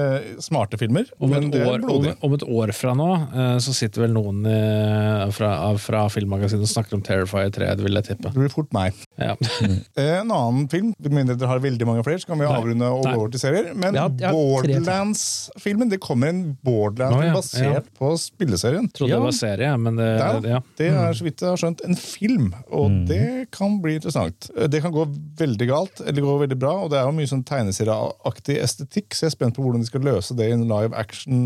[SPEAKER 2] smarte filmer,
[SPEAKER 3] Om
[SPEAKER 2] men
[SPEAKER 3] et,
[SPEAKER 2] det
[SPEAKER 3] år, uh,
[SPEAKER 2] er
[SPEAKER 3] om,
[SPEAKER 2] blodig.
[SPEAKER 3] om et år fra nå eh, så sitter vel noen eh, fra fra, av- fra filmmagasinet snakker om Terrifier 3, det vil jeg tippe.
[SPEAKER 2] Det blir fort meg.
[SPEAKER 3] Ja.
[SPEAKER 4] Mm.
[SPEAKER 2] En annen film, med mindre dere har veldig mange flere, så kan vi
[SPEAKER 3] Nei.
[SPEAKER 2] avrunde og gå
[SPEAKER 3] Nei.
[SPEAKER 2] over til serier. Men
[SPEAKER 4] Jeg har- jeg har tre til.
[SPEAKER 2] Borderlands-filmen Det kommer en Borderlands
[SPEAKER 3] Å, ja, ja.
[SPEAKER 2] basert på spilleserien.
[SPEAKER 3] *laughs* Trodde
[SPEAKER 4] Ja.
[SPEAKER 3] det var serie, men det,
[SPEAKER 2] Der,
[SPEAKER 3] ja.
[SPEAKER 2] Det
[SPEAKER 4] Mm.
[SPEAKER 2] er så vidt jeg har skjønt en film, og det kan bli interessant. Det kan gå veldig galt, eller gå veldig bra, og det er jo mye sånn tegneserieaktig estetikk, så jeg er spent på hvordan de skal løse det i en live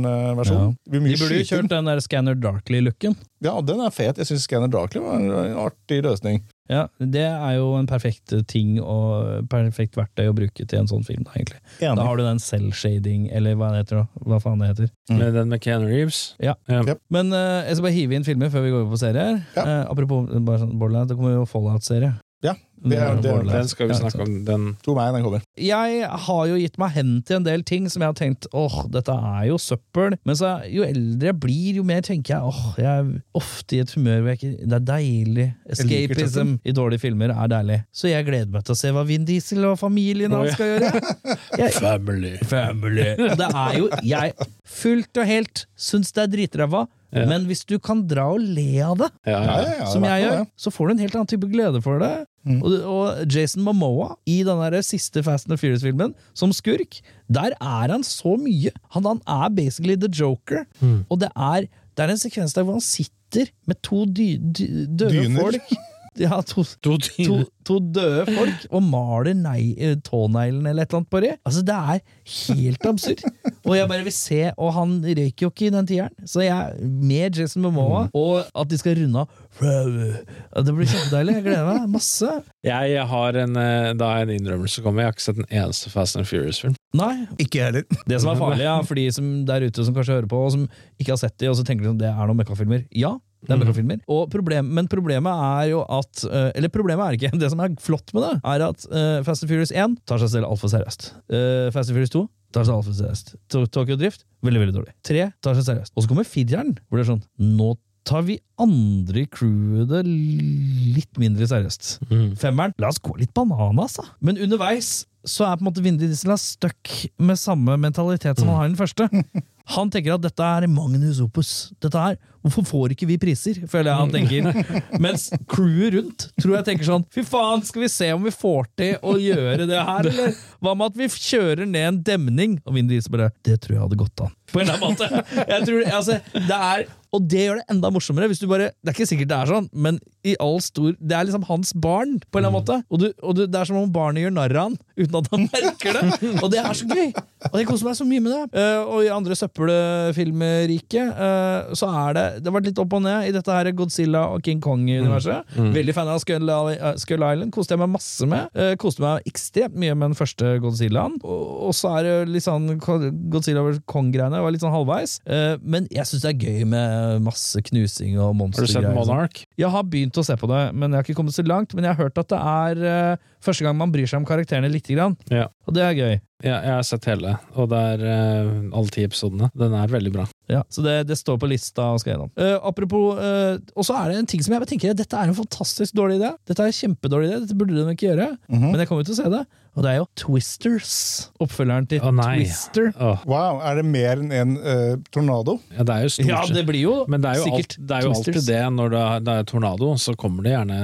[SPEAKER 2] action-versjon. Det blir
[SPEAKER 4] De
[SPEAKER 2] mye
[SPEAKER 4] burde jo
[SPEAKER 2] skyting.
[SPEAKER 4] kjørt den der Scanner Darkly-looken.
[SPEAKER 2] Ja, og den er fet. Jeg syns Scanner Darkly var en en artig løsning.
[SPEAKER 4] Ja, Det er jo en perfekt eh, ting og perfekt verktøy å bruke til en sånn film. da, egentlig. Da har du den cell-shading, eller hva det heter. da, hva faen det heter.
[SPEAKER 3] Med den med Keanu Reeves.
[SPEAKER 4] Mm. Ja.
[SPEAKER 2] Yep.
[SPEAKER 4] Men eh, jeg skal bare hive inn filmer før vi går over på serier.
[SPEAKER 2] Ja.
[SPEAKER 4] Eh, apropos eh, bare sånn, Borderlands, det kommer jo Fallout-serie.
[SPEAKER 2] Ja, det er- det er-
[SPEAKER 4] Borderlands.
[SPEAKER 3] Den skal vi
[SPEAKER 4] Ja,
[SPEAKER 3] snakke
[SPEAKER 4] sant.
[SPEAKER 3] om. Den
[SPEAKER 2] Tro meg, den kommer.
[SPEAKER 4] Jeg har jo gitt meg hen til en del ting som jeg har tenkt åh, dette er jo søppel. Men så, jo eldre jeg blir, jo mer tenker jeg åh, jeg er ofte i et humør hvor jeg ikke Det er deilig.
[SPEAKER 2] liker
[SPEAKER 4] Escapism i dårlige filmer er deilig. Så jeg gleder meg til å se hva Vin Diesel og familien
[SPEAKER 3] Å,
[SPEAKER 4] hans
[SPEAKER 3] ja.
[SPEAKER 4] skal gjøre.
[SPEAKER 3] *laughs*
[SPEAKER 4] Jeg,
[SPEAKER 3] Family.
[SPEAKER 4] Family. Og det er jo jeg fullt og helt syns det er dritræva,
[SPEAKER 3] Ja.
[SPEAKER 4] men hvis du kan dra og le av det,
[SPEAKER 3] Ja,
[SPEAKER 2] Ja,
[SPEAKER 3] ja.
[SPEAKER 2] ja, ja,
[SPEAKER 4] som
[SPEAKER 2] i hvert
[SPEAKER 4] jeg
[SPEAKER 2] fall
[SPEAKER 4] gjør,
[SPEAKER 2] det.
[SPEAKER 4] så får du en helt annen type glede for det.
[SPEAKER 2] Mm.
[SPEAKER 4] Og, og Jason Momoa i den der siste Fast and the Furious-filmen, som skurk, der er han så mye. Han, han er basically the joker.
[SPEAKER 3] Mm.
[SPEAKER 4] Og det er, det er en sekvens der hvor han sitter med to dy, dy, døde
[SPEAKER 2] Dyner. *laughs*
[SPEAKER 4] folk. Ja, to, to,
[SPEAKER 3] To timer.
[SPEAKER 4] to døde folk og maler nei, eh, tåneglen eller et eller annet på det. Altså, det er helt absurd. Og jeg bare vil se, og han røyker jo ikke i den tieren. Så jeg med Jason Momoa, og at de skal runde av Ja, Det blir kjempedeilig. Jeg gleder meg masse.
[SPEAKER 3] Jeg har en, eh, da har jeg en innrømmelse å komme med. Jeg har ikke sett en eneste Fast and Furious-film.
[SPEAKER 4] Nei.
[SPEAKER 2] Ikke jeg heller. *laughs*
[SPEAKER 4] Det som er farlig ja, for de som der ute som kanskje hører på, og som ikke har sett de, og så tenker de at det er noen møkkafilmer. Ja, det
[SPEAKER 2] Mm.
[SPEAKER 4] er møkkafilmer. Og problem, men problemet er jo at eh, Eller problemet er ikke *laughs* Det som er flott med det, er at eh, Fast and Furious 1 tar seg selv altfor seriøst. Eh, Fast and Furious 2 tar seg altfor seriøst. To- Tokyo Drift veldig, veldig dårlig. 3 tar seg seriøst. Og så kommer fireren, hvor det er sånn Nå tar vi andre i crewet det litt mindre seriøst. Femmeren, la oss gå litt bananas, da. Men underveis så er på en måte Vin Diesel er stuck med samme mentalitet som han har i den første. Han tenker at dette er magnus opus. Dette her, Hvorfor får ikke vi priser, føler jeg han tenker. Mens crewet rundt tror jeg tenker sånn Fy faen, skal vi se om vi får til å gjøre det her, eller? Hva med at vi kjører ned en demning? Og Vin Diesel bare Det tror jeg hadde gått an. På en eller annen måte. Jeg tror, altså, det er og det gjør det enda morsommere. hvis du bare, Det er ikke sikkert det er sånn, men i all stor, det er liksom hans barn, på en eller annen måte. Og, du, og du, det er som om barnet gjør narr av han uten at han *laughs* merker det. Og det er så gøy! Og jeg koser meg så mye med det. Eh, og i andre søppelfilmriket eh, så er det Det har vært litt opp og ned i dette her Godzilla og King Kong-universet.
[SPEAKER 3] Mm.
[SPEAKER 4] Veldig fan av Skull, eh, Skull Island. Koste jeg meg masse med. Eh, koste meg ekstremt mye med den første Godzillaen. Og, og så er det litt sånn Godzilla vs. Kong-greiene. var litt sånn halvveis. Eh, men jeg syns det er gøy med masse knusing og
[SPEAKER 3] Har du
[SPEAKER 4] monstergreier.
[SPEAKER 3] sett
[SPEAKER 4] og sånn.
[SPEAKER 3] Monarch?
[SPEAKER 4] Jeg har begynt å se på det, men jeg har ikke kommet så langt. Men jeg har hørt at det er eh, første gang man bryr seg om karakterene lite grann.
[SPEAKER 3] Ja.
[SPEAKER 4] Og det er gøy.
[SPEAKER 3] Ja, jeg har sett hele, og det er eh, alle ti episodene. Den er veldig bra.
[SPEAKER 4] Ja, så det, det står på lista og skal gjennom. Eh, apropos, eh, og så er det en ting som jeg tenker dette er en fantastisk dårlig idé. Dette er en kjempedårlig idé, dette burde de ikke gjøre. Men jeg kommer jo til å se det. Og det er jo Twisters. Oppfølgeren til
[SPEAKER 3] Å, nei.
[SPEAKER 4] Twister.
[SPEAKER 3] Åh,
[SPEAKER 2] Wow, er det mer enn en eh, tornado?
[SPEAKER 3] ja, det er jo stort
[SPEAKER 4] Ja, det blir jo
[SPEAKER 3] men det er jo, alt,
[SPEAKER 4] sikkert
[SPEAKER 3] det er jo alltid
[SPEAKER 4] Twisters.
[SPEAKER 3] det når det er, det er tornado, så kommer det gjerne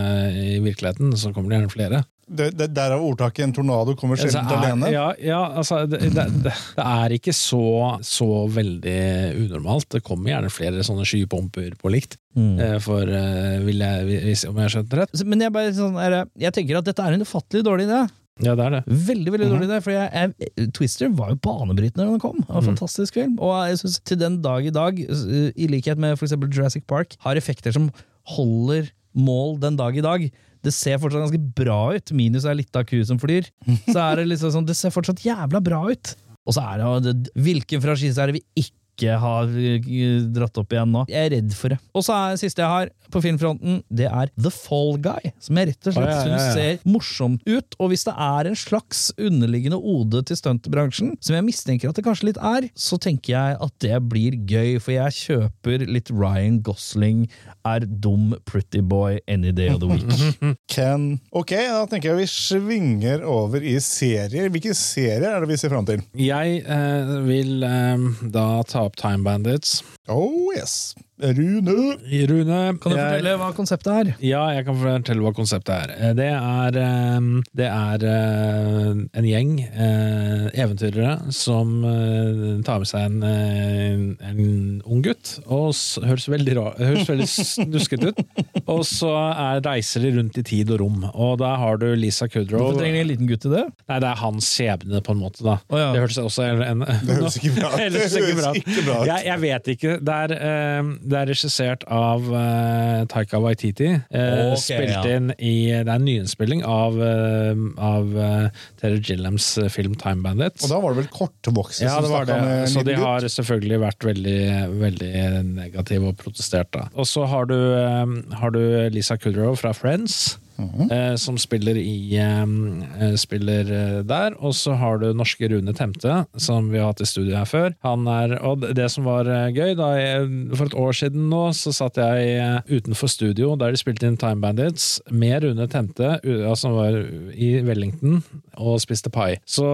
[SPEAKER 3] i virkeligheten så kommer det gjerne flere.
[SPEAKER 2] Det, det, derav ordtaket 'en tornado kommer
[SPEAKER 3] Altså,
[SPEAKER 2] sjelden alene'.
[SPEAKER 3] er, ja, ja, altså, det, det, det, det er ikke så, så veldig unormalt. Det kommer gjerne flere sånne skypumper på likt,
[SPEAKER 4] Mm.
[SPEAKER 3] eh, for, eh, vil jeg, hvis, om jeg har skjønt det rett.
[SPEAKER 4] Så- Men jeg, bare, sånn, er, det- jeg tenker at dette er en ufattelig dårlig idé.
[SPEAKER 3] Ja, det er det.
[SPEAKER 4] Veldig veldig dårlig idé. For jeg, jeg, Twister var jo banebrytende da den kom. Det var en Fantastisk film. Og jeg synes til den dag i dag, uh, i likhet med f.eks. Jurassic Park, har effekter som holder mål den dag i dag. Det ser fortsatt ganske bra ut, minus er litt av ku som flyr. Så er Det liksom sånn, det ser fortsatt jævla bra ut. Og så er det, jo det Hvilken franchise er det vi ikke har uh, dratt opp igjen nå? Jeg er redd for det. Og så er det siste jeg har på filmfronten, det er The Fall Guy. Som jeg rett og slett
[SPEAKER 3] Å, ja, ja, ja.
[SPEAKER 4] synes ser morsomt ut. Og hvis det er en slags underliggende ode til stuntbransjen, som jeg mistenker at det kanskje litt er, så tenker jeg at det blir gøy. For jeg kjøper litt Ryan Gosling er dum pretty boy any day of the week.
[SPEAKER 2] Ken. Ok, da tenker jeg vi svinger over i serier. Hvilke serier er det vi ser fram til?
[SPEAKER 3] Jeg eh, vil eh, da ta opp Time Bandits.
[SPEAKER 2] Oh yes. Rune!
[SPEAKER 3] Rune,
[SPEAKER 4] Kan du
[SPEAKER 3] jeg-
[SPEAKER 4] fortelle hva konseptet er?
[SPEAKER 3] Ja, jeg kan fortelle hva konseptet er. Eh, Det er, eh, det er eh, en gjeng eh, eventyrere som eh, tar med seg en, eh, en ung gutt, og s- høres veldig, ra- høres veldig
[SPEAKER 4] *laughs*
[SPEAKER 3] snuskete ut. Og så er, reiser de rundt i tid og rom, og der har du Lisa Kudrow.
[SPEAKER 4] Hvorfor trenger de en liten gutt til det?
[SPEAKER 3] Nei, det er hans skjebne, på en måte. da.
[SPEAKER 4] Å, ja.
[SPEAKER 3] Det hørtes også en, en,
[SPEAKER 2] Det høres ikke bra ut.
[SPEAKER 3] *laughs* Det høres ikke bra ut.
[SPEAKER 2] ikke bra ut.
[SPEAKER 3] Jeg, jeg vet ikke. Det er, eh, det er regissert av eh, Taika Waititi. Eh,
[SPEAKER 4] Ok,
[SPEAKER 3] spilt
[SPEAKER 4] ja.
[SPEAKER 3] inn i Det er en nyinnspilling av, eh, av eh, Terry Gillams film Time Bandits.
[SPEAKER 2] Og da var det vel kortvokste
[SPEAKER 3] Ja,
[SPEAKER 2] som
[SPEAKER 3] det var
[SPEAKER 2] snakket eh, med
[SPEAKER 3] det.
[SPEAKER 2] en
[SPEAKER 3] Så de
[SPEAKER 2] liten gutt?
[SPEAKER 3] har selvfølgelig vært veldig, veldig negative og protestert. da. Og så har du, eh, har du Lisa Kudrow fra Friends,
[SPEAKER 2] Mhm.
[SPEAKER 3] eh, som spiller i eh, spiller eh, der. Og så har du norske Rune Temte, som vi har hatt i studio her før. Han er, og det- det som var eh, gøy, da jeg, for et år siden nå, så satt jeg eh, utenfor studio, der de spilte inn Time Bandits, med Rune Temte, u- ja, som var i Wellington, og spiste pai. Så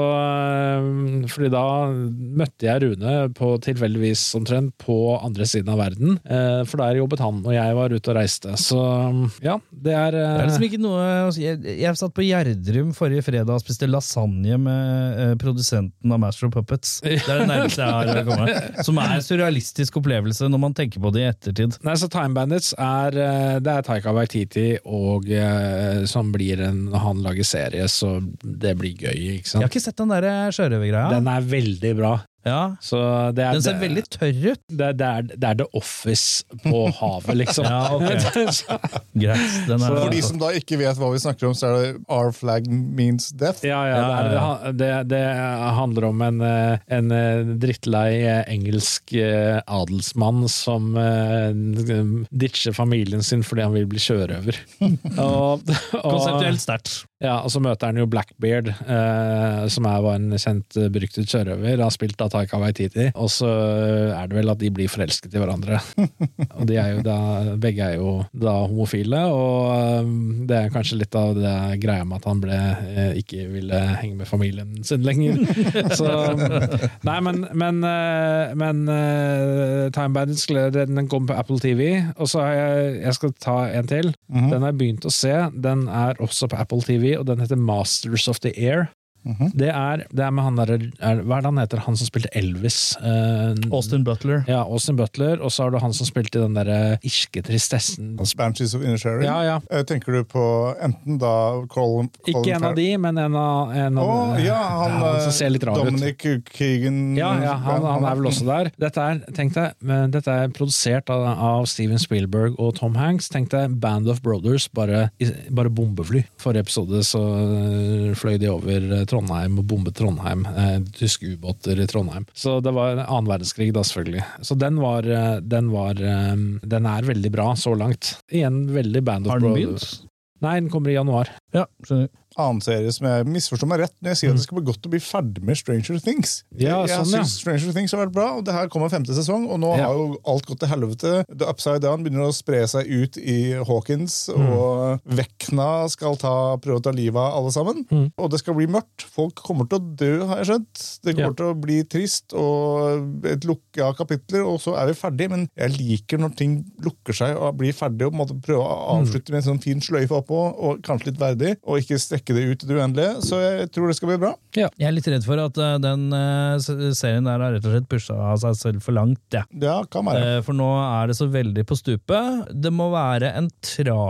[SPEAKER 3] eh, fordi da møtte jeg Rune på tilfeldigvis omtrent på andre siden av verden, eh, for der jobbet han, og jeg var ute og reiste. Så ja, det er, eh,
[SPEAKER 4] Det er liksom ikke noe Jeg, jeg satt på Gjerdrum forrige fredag og spiste lasagne med eh, produsenten av Master of *laughs* Puppets. Det er det nærmeste jeg har å komme. Som er en surrealistisk opplevelse når man tenker på det i ettertid.
[SPEAKER 3] Nei, så Time Bandits er eh, Det er Taika Waititi og eh, som blir en Når han lager serie, så det blir gøy, ikke
[SPEAKER 4] Jeg har
[SPEAKER 3] sant?
[SPEAKER 4] ikke sett den der eh, sjørøvergreia.
[SPEAKER 3] Den er veldig bra.
[SPEAKER 4] Ja.
[SPEAKER 3] Så det er,
[SPEAKER 4] Den ser
[SPEAKER 3] det-
[SPEAKER 4] veldig tørr ut.
[SPEAKER 3] det, er- det, er, det er The Office på havet, *laughs* liksom. sånn.
[SPEAKER 4] Ja, ok.
[SPEAKER 3] Så-
[SPEAKER 4] Greit. Den er
[SPEAKER 3] Så-
[SPEAKER 2] For de som da ikke vet hva vi snakker om, så er det Our flag means death.
[SPEAKER 3] Ja, ja,
[SPEAKER 4] Ja,
[SPEAKER 3] det,
[SPEAKER 4] ja,
[SPEAKER 3] er, det, det handler om en, eh, en eh, drittlei eh, engelsk eh, adelsmann som eh, ditcher familien sin fordi han vil bli sjørøver. *laughs* og, og,
[SPEAKER 4] konseptuelt sterkt.
[SPEAKER 3] ja, og så møter han jo Blackbeard, eh, som er, var en kjent eh, beryktet sjørøver, har spilt av Taika Waititi, og så eh, er det vel at de blir forelsket i hverandre. og de er jo da, begge er jo da homofile, og eh, det er kanskje litt av det greia med at han ble, eh, ikke ville henge med familien sin lenger. så, nei, men, men, eh, men eh, Time Bandits, den kommer på Apple TV, og så har jeg, jeg skal ta en til. Den har jeg begynt å se. Den er også på Apple TV, og den heter Masters of the Air.
[SPEAKER 2] Mhm.
[SPEAKER 3] Det, er, det er med han derre er- Hva er det han heter? Han som spilte Elvis? eh,
[SPEAKER 4] Austin Butler.
[SPEAKER 3] Ja, Austin Butler. Og så har du han som spilte den derre irske tristessen.
[SPEAKER 2] Banshees of Inisherin.
[SPEAKER 3] Ja, ja.
[SPEAKER 2] Eh, Tenker du på enten da Colin
[SPEAKER 3] Ikke en av de, men en av, en av
[SPEAKER 2] Å, ja, han,
[SPEAKER 3] *laughs*
[SPEAKER 2] eh,
[SPEAKER 3] som ser litt rar ut.
[SPEAKER 2] Dominic Keegan
[SPEAKER 3] Ja, ja han, han er vel også der. Dette er, tenk deg, men dette er produsert av, av Steven Spielberg og Tom Hanks. Tenk deg Band of Brothers, bare, i- bare bombefly. Forrige episode så øh, fløy de over øh, Trondheim og bombet Trondheim. Eh, tyske ubåter i Trondheim. Så det var en annen verdenskrig, da, selvfølgelig. Så den var, øh, den var øh, Den er veldig bra så langt. Igjen veldig Band of
[SPEAKER 4] Har den
[SPEAKER 3] Brothers.
[SPEAKER 4] begynt?
[SPEAKER 3] Nei, den kommer i januar.
[SPEAKER 4] Ja, skjønner.
[SPEAKER 2] annen serie som jeg misforstår meg rett når jeg sier at det skal bli godt å bli ferdig med Stranger Things.
[SPEAKER 3] Ja,
[SPEAKER 2] jeg
[SPEAKER 3] sånn, ja.
[SPEAKER 2] synes Stranger Things har vært bra, og det her kommer femte sesong, og nå
[SPEAKER 3] Ja.
[SPEAKER 2] har jo alt gått til helvete. The Upside Down begynner å spre seg ut i Hawkins,
[SPEAKER 3] Mm.
[SPEAKER 2] og Vekna skal ta, prøve å ta livet av alle sammen.
[SPEAKER 3] Mm.
[SPEAKER 2] Og det skal bli mørkt. Folk kommer til å dø, har jeg skjønt. Det
[SPEAKER 3] Ja.
[SPEAKER 2] kommer til å bli trist og et lukke av kapitler, og så er vi ferdig. Men jeg liker når ting lukker seg og blir ferdig, og på en måte prøve å
[SPEAKER 3] Mm.
[SPEAKER 2] avslutte med en sånn fin sløyfe oppå, og kanskje litt verdig, og ikke strekke det ut i det uendelige. Så jeg tror det skal bli bra.
[SPEAKER 4] Jeg er litt redd for at eh, den eh, s- serien der har rett og slett pusha seg selv for langt. Ja.
[SPEAKER 2] Ja, kan være.
[SPEAKER 4] Eh, For nå er det så veldig på stupet. Det må være en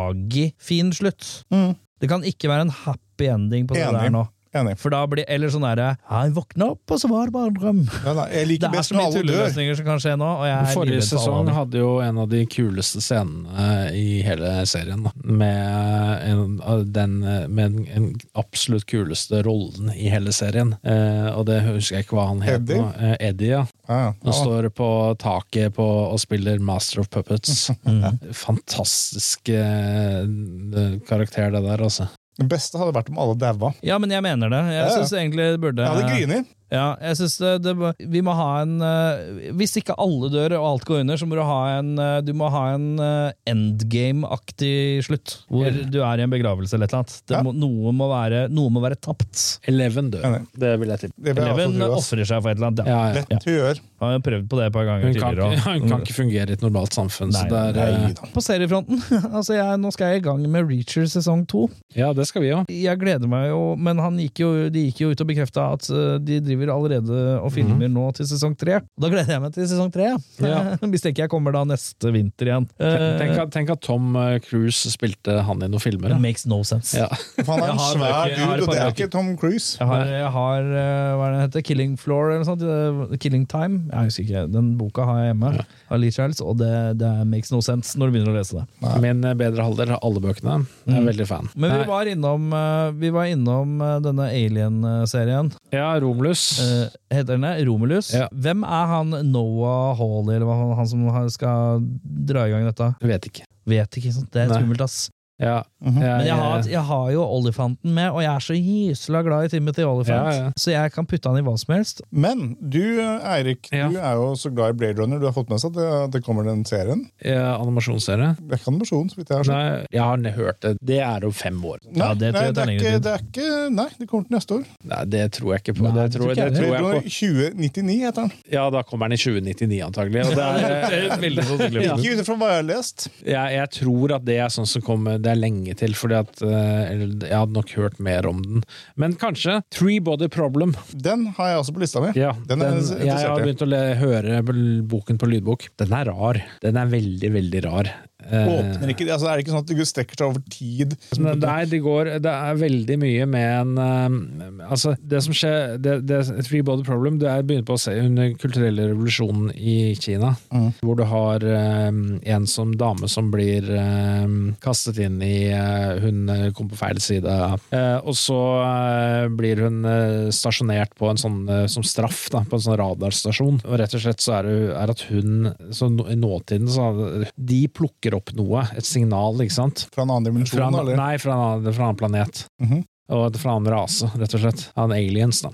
[SPEAKER 4] tragifin slutt.
[SPEAKER 2] Mm.
[SPEAKER 4] Det kan ikke være en happy ending på det
[SPEAKER 2] Enig.
[SPEAKER 4] der nå.
[SPEAKER 2] Enig.
[SPEAKER 4] For da blir Eller sånn derre Jeg våkna opp, og så var det bare en drøm.
[SPEAKER 2] Ja, nei, jeg
[SPEAKER 4] Det
[SPEAKER 2] liker
[SPEAKER 4] er
[SPEAKER 2] best
[SPEAKER 4] så
[SPEAKER 2] når
[SPEAKER 4] mye
[SPEAKER 2] alle dør.
[SPEAKER 4] tulleløsninger som kan skje nå, og jeg er livredd
[SPEAKER 3] Forrige
[SPEAKER 4] for alle
[SPEAKER 3] sesong
[SPEAKER 4] andre.
[SPEAKER 3] hadde jo en av de kuleste scenene i hele serien. da. Med en, av den, med den en absolutt kuleste rollen i hele serien. Eh, og det husker jeg ikke hva han het.
[SPEAKER 2] Eddie?
[SPEAKER 3] nå. Eh, Eddie, ja.
[SPEAKER 2] Ja, ja.
[SPEAKER 3] Han står på taket på, og spiller Master of Puppets.
[SPEAKER 2] *laughs*
[SPEAKER 3] Fantastisk eh, karakter, det der, altså.
[SPEAKER 2] Det beste hadde vært om alle daua.
[SPEAKER 4] Ja, men jeg mener det. Jeg
[SPEAKER 2] Ja, ja.
[SPEAKER 4] synes egentlig det burde
[SPEAKER 2] Jeg hadde grini.
[SPEAKER 4] Ja, jeg synes det, det, må- Vi må ha en eh, Hvis ikke alle dør og alt går under, så må du ha en, eh, du må ha en eh, endgame-aktig slutt. Hvor du er i en begravelse eller et eller annet. Det
[SPEAKER 2] Ja.
[SPEAKER 4] må, noe, må være, noe må være tapt.
[SPEAKER 3] Eleven dør.
[SPEAKER 2] Enig.
[SPEAKER 3] Det vil jeg tippe.
[SPEAKER 2] Det vil jeg
[SPEAKER 4] Eleven
[SPEAKER 2] også tro, ass.
[SPEAKER 4] ofrer seg for et eller annet. Ja.
[SPEAKER 3] Ja, ja.
[SPEAKER 2] Lett å gjøre.
[SPEAKER 4] Har jo prøvd på det et par ganger
[SPEAKER 3] Hun kan,
[SPEAKER 4] tidligere. *laughs*
[SPEAKER 3] ikke,
[SPEAKER 4] også.
[SPEAKER 3] hun kan ikke fungere i et normalt samfunn. Så
[SPEAKER 4] Nei,
[SPEAKER 3] det er, eh,
[SPEAKER 2] Nei da.
[SPEAKER 4] På seriefronten *laughs* altså jeg, Nå skal jeg i gang med Reacher sesong to.
[SPEAKER 3] ja, det skal vi òg.
[SPEAKER 4] Jeg gleder meg jo, men han gikk jo, de gikk jo ut og bekrefta at eh, de driver allerede og filmer nå til sesong tre. Da gleder jeg meg til sesong tre.
[SPEAKER 3] Mhm.
[SPEAKER 4] *laughs*
[SPEAKER 3] Ja.
[SPEAKER 4] Mistenker jeg kommer da neste vinter igjen. Eh,
[SPEAKER 3] Tenk, at- tenk at Tom eh, Cruise spilte han i noen filmer.
[SPEAKER 4] It
[SPEAKER 3] da.
[SPEAKER 4] makes no sense.
[SPEAKER 3] Ja.
[SPEAKER 2] For han er
[SPEAKER 4] Jeg
[SPEAKER 2] en
[SPEAKER 4] har bare
[SPEAKER 2] svær
[SPEAKER 4] ikke- jeg har
[SPEAKER 2] dude, og det er
[SPEAKER 4] bare
[SPEAKER 2] ikke Tom Cruise.
[SPEAKER 4] Jeg har, jeg har eh, hva er det den heter, Killing Floor eller noe sånt. eh, Killing Time. Jeg husker ikke. Den boka har jeg hjemme, av Lee Charles, og det, det makes no sense når du begynner å lese det.
[SPEAKER 3] Min eh, bedre halvdel har alle bøkene. Jeg er veldig fan.
[SPEAKER 4] Mm. Men vi
[SPEAKER 3] Nei,
[SPEAKER 4] var innom, eh, vi var innom eh, denne Alien-serien.
[SPEAKER 3] ja, Romulus.
[SPEAKER 4] Eh, heter den det? Romulus?
[SPEAKER 3] Ja.
[SPEAKER 4] Hvem er han Noah Hawley, eller hva han, han som har- skal dra i gang dette?
[SPEAKER 3] Vet ikke.
[SPEAKER 4] Vet ikke, sant? Det er
[SPEAKER 3] Nei.
[SPEAKER 4] skummelt, ass.
[SPEAKER 3] Ja,
[SPEAKER 2] Mhm.
[SPEAKER 4] Men jeg har,
[SPEAKER 3] eh,
[SPEAKER 4] jeg har jo Olifanten med, og jeg er så gysla glad i Timothy Olifant,
[SPEAKER 3] Ja, ja.
[SPEAKER 4] så jeg kan putte han i hva som helst.
[SPEAKER 2] Men du, Eirik,
[SPEAKER 3] Ja.
[SPEAKER 2] du er jo så glad i Blade Runner. Du har fått med seg at det, at det kommer den serien.
[SPEAKER 3] eh, animasjonsserie.
[SPEAKER 2] Det er ikke animasjon, så vidt jeg har skjønt.
[SPEAKER 3] Nei, jeg har ne- hørt det. Det er om fem år.
[SPEAKER 2] Nei,
[SPEAKER 4] Ja, det tror
[SPEAKER 2] nei, det,
[SPEAKER 4] jeg tar
[SPEAKER 2] er
[SPEAKER 4] lengre
[SPEAKER 2] ikke,
[SPEAKER 4] tid.
[SPEAKER 2] det er ikke Nei, det kommer til neste år.
[SPEAKER 3] Nei, det tror jeg ikke på.
[SPEAKER 4] Nei,
[SPEAKER 3] det tror,
[SPEAKER 4] det tror ikke jeg
[SPEAKER 3] det tror
[SPEAKER 2] Blade
[SPEAKER 3] jeg
[SPEAKER 2] Runner
[SPEAKER 3] på.
[SPEAKER 2] 2099 heter den.
[SPEAKER 3] Ja, da kommer den i 2099 antagelig. Og
[SPEAKER 4] *laughs*
[SPEAKER 3] det er, eh,
[SPEAKER 4] Veldig sannsynlig.
[SPEAKER 3] Ja.
[SPEAKER 2] Ikke ut ifra hva jeg har lest.
[SPEAKER 3] jeg, jeg tror at det er sånn som kommer Det er lenge til, fordi at eh, eller, jeg hadde nok hørt mer om den. Men kanskje Three Body Problem.
[SPEAKER 2] Den har jeg også på lista mi.
[SPEAKER 3] *laughs* Ja,
[SPEAKER 2] Den
[SPEAKER 3] den,
[SPEAKER 2] er jeg
[SPEAKER 3] jeg
[SPEAKER 2] interessert
[SPEAKER 3] har
[SPEAKER 2] i.
[SPEAKER 3] begynt å le, høre bl- boken på lydbok. Den er rar. Den er veldig, veldig rar. Eh,
[SPEAKER 2] Åpner ikke, altså er det ikke sånn at det strekker seg over tid?
[SPEAKER 3] Nei, nei, det går Det er veldig mye med en eh, Altså, det som skjer det, det, Three Body Problem det er begynt på å se under den kulturelle revolusjonen i Kina. Hvor du har eh, en som dame som blir eh, kastet inn i eh, Hun eh, kom på feil side. Eh, og så eh, blir hun eh, stasjonert på en sånn eh, som straff da, på en sånn radarstasjon. Og rett og slett så er det er at hun så nå- I nåtiden så De plukker opp noe, et signal, ikke sant?
[SPEAKER 2] Fra en annen dimensjon,
[SPEAKER 3] Fra en,
[SPEAKER 2] eller?
[SPEAKER 3] nei, fra en annen, fra en annen planet.
[SPEAKER 2] Mhm.
[SPEAKER 3] Og at- fra en rase, rett og slett. Av en aliens, da.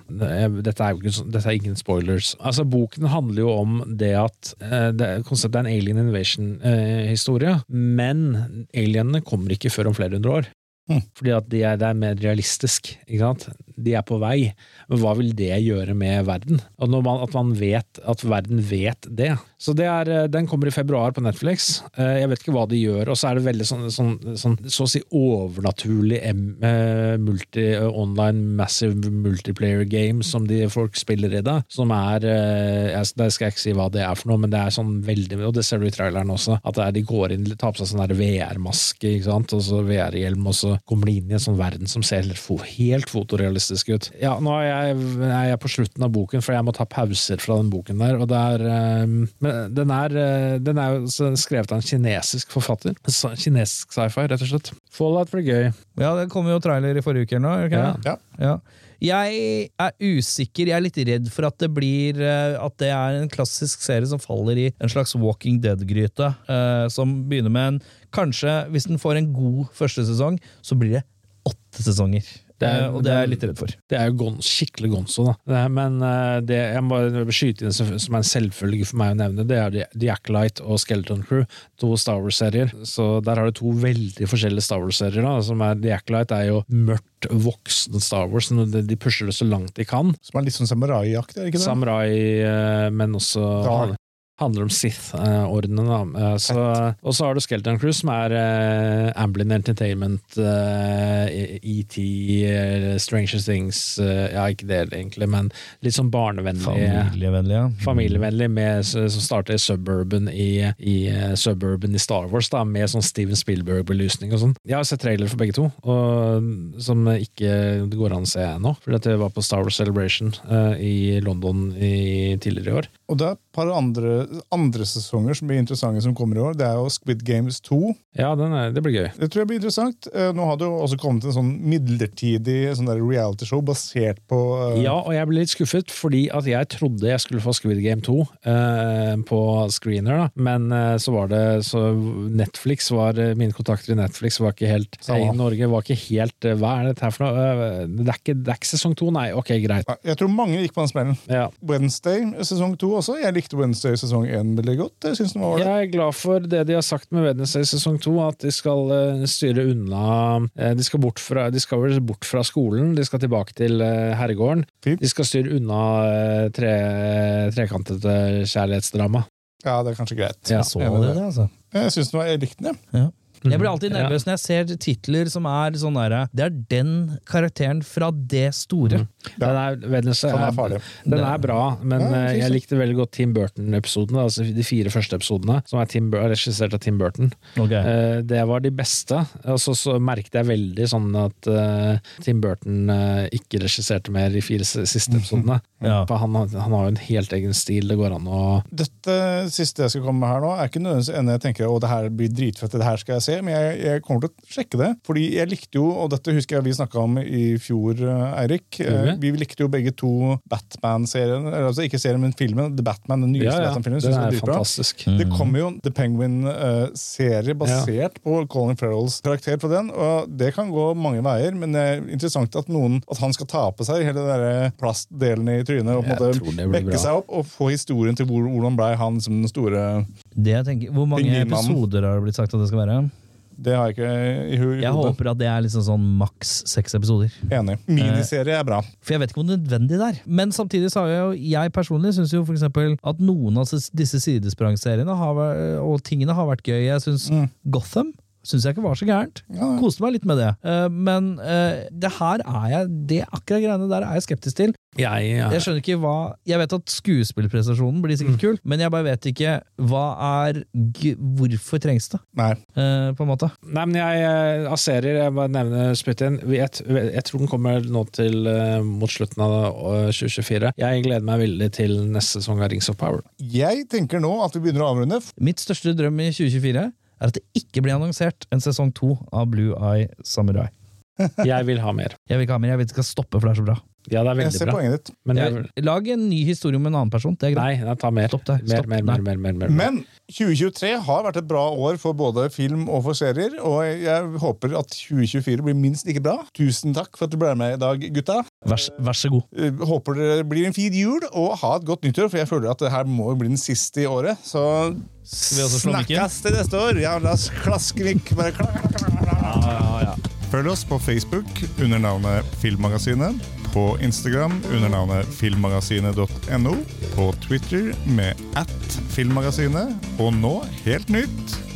[SPEAKER 3] Dette er, jo ikke, så- dette er ingen spoilers. Altså, Boken handler jo om det at eh, det, Konseptet er en alien invasion-historie, men alienene kommer ikke før om flere hundre år.
[SPEAKER 2] Mhm.
[SPEAKER 3] Fordi at de er, det er mer realistisk. ikke sant? De er på vei. Men hva vil det gjøre med verden? Og når man, at man vet at verden vet det. Så det er, eh, den kommer i februar på Netflix. Eh, Jeg vet ikke hva de gjør. Og så er det veldig sånn, sånn, sånn så å si overnaturlig em- eh, multi, eh, online massive multiplayer game som de folk spiller i da. Som er eh, jeg, Det skal jeg ikke si hva det er for noe, men det er sånn veldig Og det ser du i traileren også. At det er, de går inn, tar på seg sånn der VR-maske ikke sant? og så VR-hjelm, og så kommer de inn i en sånn verden som ser helt fo- helt fotorealistisk ut. Ja, nå er jeg, er jeg på slutten av boken, for jeg må ta pauser fra den boken der. Og det er, ehm, men den er, eh, den er jo s- skrevet av en kinesisk forfatter. Sa- Kinesisk sci-fi, rett og slett. Fallout blir gøy.
[SPEAKER 4] Ja, det kom jo trailer i forrige uke eller noe. gjør ikke det?
[SPEAKER 2] Ja.
[SPEAKER 4] Ja. Jeg er usikker, jeg er litt redd for at det blir eh, At det er en klassisk serie som faller i en slags Walking Dead-gryte. eh, Som begynner med en Kanskje, hvis den får en god første sesong, så blir det åtte sesonger.
[SPEAKER 3] Det er-
[SPEAKER 4] Eh, og det er jeg litt redd for.
[SPEAKER 3] Det er jo gon, skikkelig gonzo, da. Det, er- men eh, det, jeg må bare skyte inn som som er en selvfølge for meg å nevne, det er The- The Acolyte og Skeleton Crew. To Star Wars-serier. Så der har du to veldig forskjellige Star Wars-serier. da, som er The Acolyte er jo mørkt voksen Star Wars. men De de pusher det så langt de kan.
[SPEAKER 2] Som er litt sånn samurai-aktig, er det ikke det?
[SPEAKER 3] Samurai, eh, men også
[SPEAKER 2] Dark.
[SPEAKER 3] handler om Sith-ordenen. da. Eh, så- Og så har du Skeleton Crew, som er eh, Amblin Entertainment, eh, ET, eh, Stranger Things eh, Ja, ikke det egentlig, men litt sånn barnevennlig.
[SPEAKER 4] Familievennlig, ja.
[SPEAKER 3] Familievennlig, med, som starter i Suburban i, i eh, Suburban i Star Wars, da, med sånn Steven Spielberg-belysning og sånn. Jeg har sett trailer for begge to, og, som ikke det går an å se ennå. Fordi at jeg var på Star Wars Celebration eh, i London i, tidligere i år.
[SPEAKER 2] Og det er et par andre andre sesonger som blir interessante som kommer i år. Det er jo Squid Games 2.
[SPEAKER 3] Ja, den er, det blir gøy.
[SPEAKER 2] Det tror jeg blir interessant. Eh, Nå har det jo også kommet en sånn midlertidig sånn der realityshow basert på eh,
[SPEAKER 3] Ja, og jeg ble litt skuffet, fordi at jeg trodde jeg skulle få Squid Game 2 eh, på screener, da. men eh, så var det så Netflix var, eh, Mine kontakter i Netflix var ikke helt
[SPEAKER 2] Samme.
[SPEAKER 3] i Norge var ikke helt eh, Hva er dette her for noe? Eh, Det er ikke, det er ikke sesong to, nei. Ok, greit.
[SPEAKER 2] Jeg tror mange gikk på den smellen.
[SPEAKER 3] Ja.
[SPEAKER 2] Wednesday sesong 2 også. Jeg likte Wednesday sesong 1 veldig godt. Jeg synes den var
[SPEAKER 3] Jeg er glad for det de har sagt med Wednesday sesong to, at de skal eh, styre unna eh, de skal, bort fra, de skal vel bort fra skolen, de skal tilbake til eh, herregården.
[SPEAKER 2] Fint.
[SPEAKER 3] De skal styre unna eh, tre, trekantete kjærlighetsdrama.
[SPEAKER 2] Ja, det er kanskje greit.
[SPEAKER 3] Ja.
[SPEAKER 4] Jeg så det, det, altså.
[SPEAKER 2] Jeg synes den var, jeg likte den, jeg.
[SPEAKER 3] Mhm.
[SPEAKER 4] Jeg blir alltid nervøs når jeg ser titler som er sånn derre Det er den karakteren fra det store.
[SPEAKER 3] Den er, Wednesday
[SPEAKER 2] Den
[SPEAKER 3] Sånn er,
[SPEAKER 2] Sånn er farlig.
[SPEAKER 3] den er bra, men
[SPEAKER 2] Ja, jeg
[SPEAKER 3] eh,
[SPEAKER 2] synes
[SPEAKER 3] jeg
[SPEAKER 2] det.
[SPEAKER 3] likte veldig godt Tim Burton-episodene, altså de fire første episodene, som er Tim, Bur- regissert av Tim Burton.
[SPEAKER 4] Okay.
[SPEAKER 3] Eh, Det var de beste. Og så, så merket jeg veldig sånn at eh, Tim Burton eh, ikke regisserte mer i fire s- siste *laughs* episodene.
[SPEAKER 4] Ja.
[SPEAKER 3] For Han, har- han har jo en helt egen stil. Det går an å
[SPEAKER 2] Dette siste jeg skal komme med her nå, er ikke nødvendigvis ennå jeg tenker å, det her blir dritfett, det her skal jeg se, men jeg, jeg kommer til å sjekke det. Fordi jeg likte jo, og dette husker jeg vi snakka om i fjor, eh, Eirik. eh,
[SPEAKER 3] Gjorde
[SPEAKER 2] Vi likte jo begge to Batman-serien, eller altså ikke serien, men filmen. The Batman, den nyeste
[SPEAKER 3] Ja, ja.
[SPEAKER 2] Batman-filmen.
[SPEAKER 3] Den
[SPEAKER 2] synes jeg
[SPEAKER 3] er
[SPEAKER 2] er dritbra.
[SPEAKER 3] fantastisk.
[SPEAKER 2] Det kommer jo en The Penguin-serie basert på Colin Farrells karakter fra den, og det kan gå mange veier, men det er interessant at noen, at han skal ta på seg hele den der plastdelen i trynet og på
[SPEAKER 3] Jeg
[SPEAKER 2] en
[SPEAKER 3] tror
[SPEAKER 2] måte
[SPEAKER 3] det blir
[SPEAKER 2] vekke
[SPEAKER 3] bra.
[SPEAKER 2] seg opp og få historien til hvor, hvordan blei han som den store
[SPEAKER 4] Det jeg tenker, hvor mange
[SPEAKER 2] Pingvinmannen.
[SPEAKER 4] episoder har det blitt sagt at det skal være?
[SPEAKER 2] Det har jeg ikke i hu- i
[SPEAKER 4] Jeg
[SPEAKER 2] hodet.
[SPEAKER 4] håper at det er liksom sånn maks seks episoder.
[SPEAKER 2] Enig.
[SPEAKER 3] Eh.
[SPEAKER 2] Miniserie er bra.
[SPEAKER 4] For jeg vet ikke hvor nødvendig det er. Men samtidig så har jeg jo jeg personlig syns jo for eksempel at noen av disse sidesprangseriene har væ- og tingene har vært gøy. Jeg syns Gotham Syns jeg ikke var så gærent.
[SPEAKER 2] Mm. Ja, ja.
[SPEAKER 4] Koste meg litt med det. Eh, men eh, det her er jeg Det akkurat greiene der er jeg skeptisk til.
[SPEAKER 3] Jeg, eh,
[SPEAKER 4] Jeg skjønner ikke hva Jeg vet at skuespillprestasjonen blir
[SPEAKER 2] Mm.
[SPEAKER 4] sikkert kul, men jeg bare vet ikke hva er g Hvorfor trengs det,
[SPEAKER 2] Nei.
[SPEAKER 4] eh, på en måte?
[SPEAKER 3] Nei, men jeg eh, av serier, jeg bare nevner spytt inn. Vi- Jeg, jeg tror den kommer nå til eh, mot slutten av eh, 2024. Jeg gleder meg veldig til neste sesong av Rings of Power.
[SPEAKER 2] Jeg tenker nå at vi begynner å avrunde.
[SPEAKER 4] Mitt største drøm i 2024 er at det ikke blir annonsert en sesong to av Blue Eye Samurai.
[SPEAKER 3] Jeg vil ha mer.
[SPEAKER 4] Jeg vil ikke ha mer, jeg vil ikke stoppe, for det er så bra.
[SPEAKER 3] Ja, det er
[SPEAKER 2] Jeg
[SPEAKER 3] veldig
[SPEAKER 2] ser
[SPEAKER 3] bra.
[SPEAKER 2] poenget ditt.
[SPEAKER 3] Men jeg,
[SPEAKER 4] Jeg,
[SPEAKER 3] vil-
[SPEAKER 4] lag en ny historie om en annen person. Det er greit.
[SPEAKER 3] nei, nei, ta mer.
[SPEAKER 4] Stopp det.
[SPEAKER 3] Mer,
[SPEAKER 4] Stopp.
[SPEAKER 3] mer,
[SPEAKER 4] Nei.
[SPEAKER 3] mer, mer, mer, mer.
[SPEAKER 2] Men 2023 har vært et bra år for både film og for serier, og jeg håper at 2024 blir minst like bra. Tusen takk for at du ble med i dag, gutta.
[SPEAKER 4] Vær, s- vær så god.
[SPEAKER 2] Eh, Håper det blir en fin jul, og ha et godt nyttår, for jeg føler at det her må jo bli den siste i året. Så
[SPEAKER 4] vi også slå mikken?
[SPEAKER 2] snakkes til neste år! Ja, la oss klaske mikk. Bare klak, klak, klak, klak, klak. Følg oss på Facebook under navnet Filmmagasinet, på Instagram under navnet filmmagasinet.no, på Twitter med at filmmagasinet, og nå, helt nytt,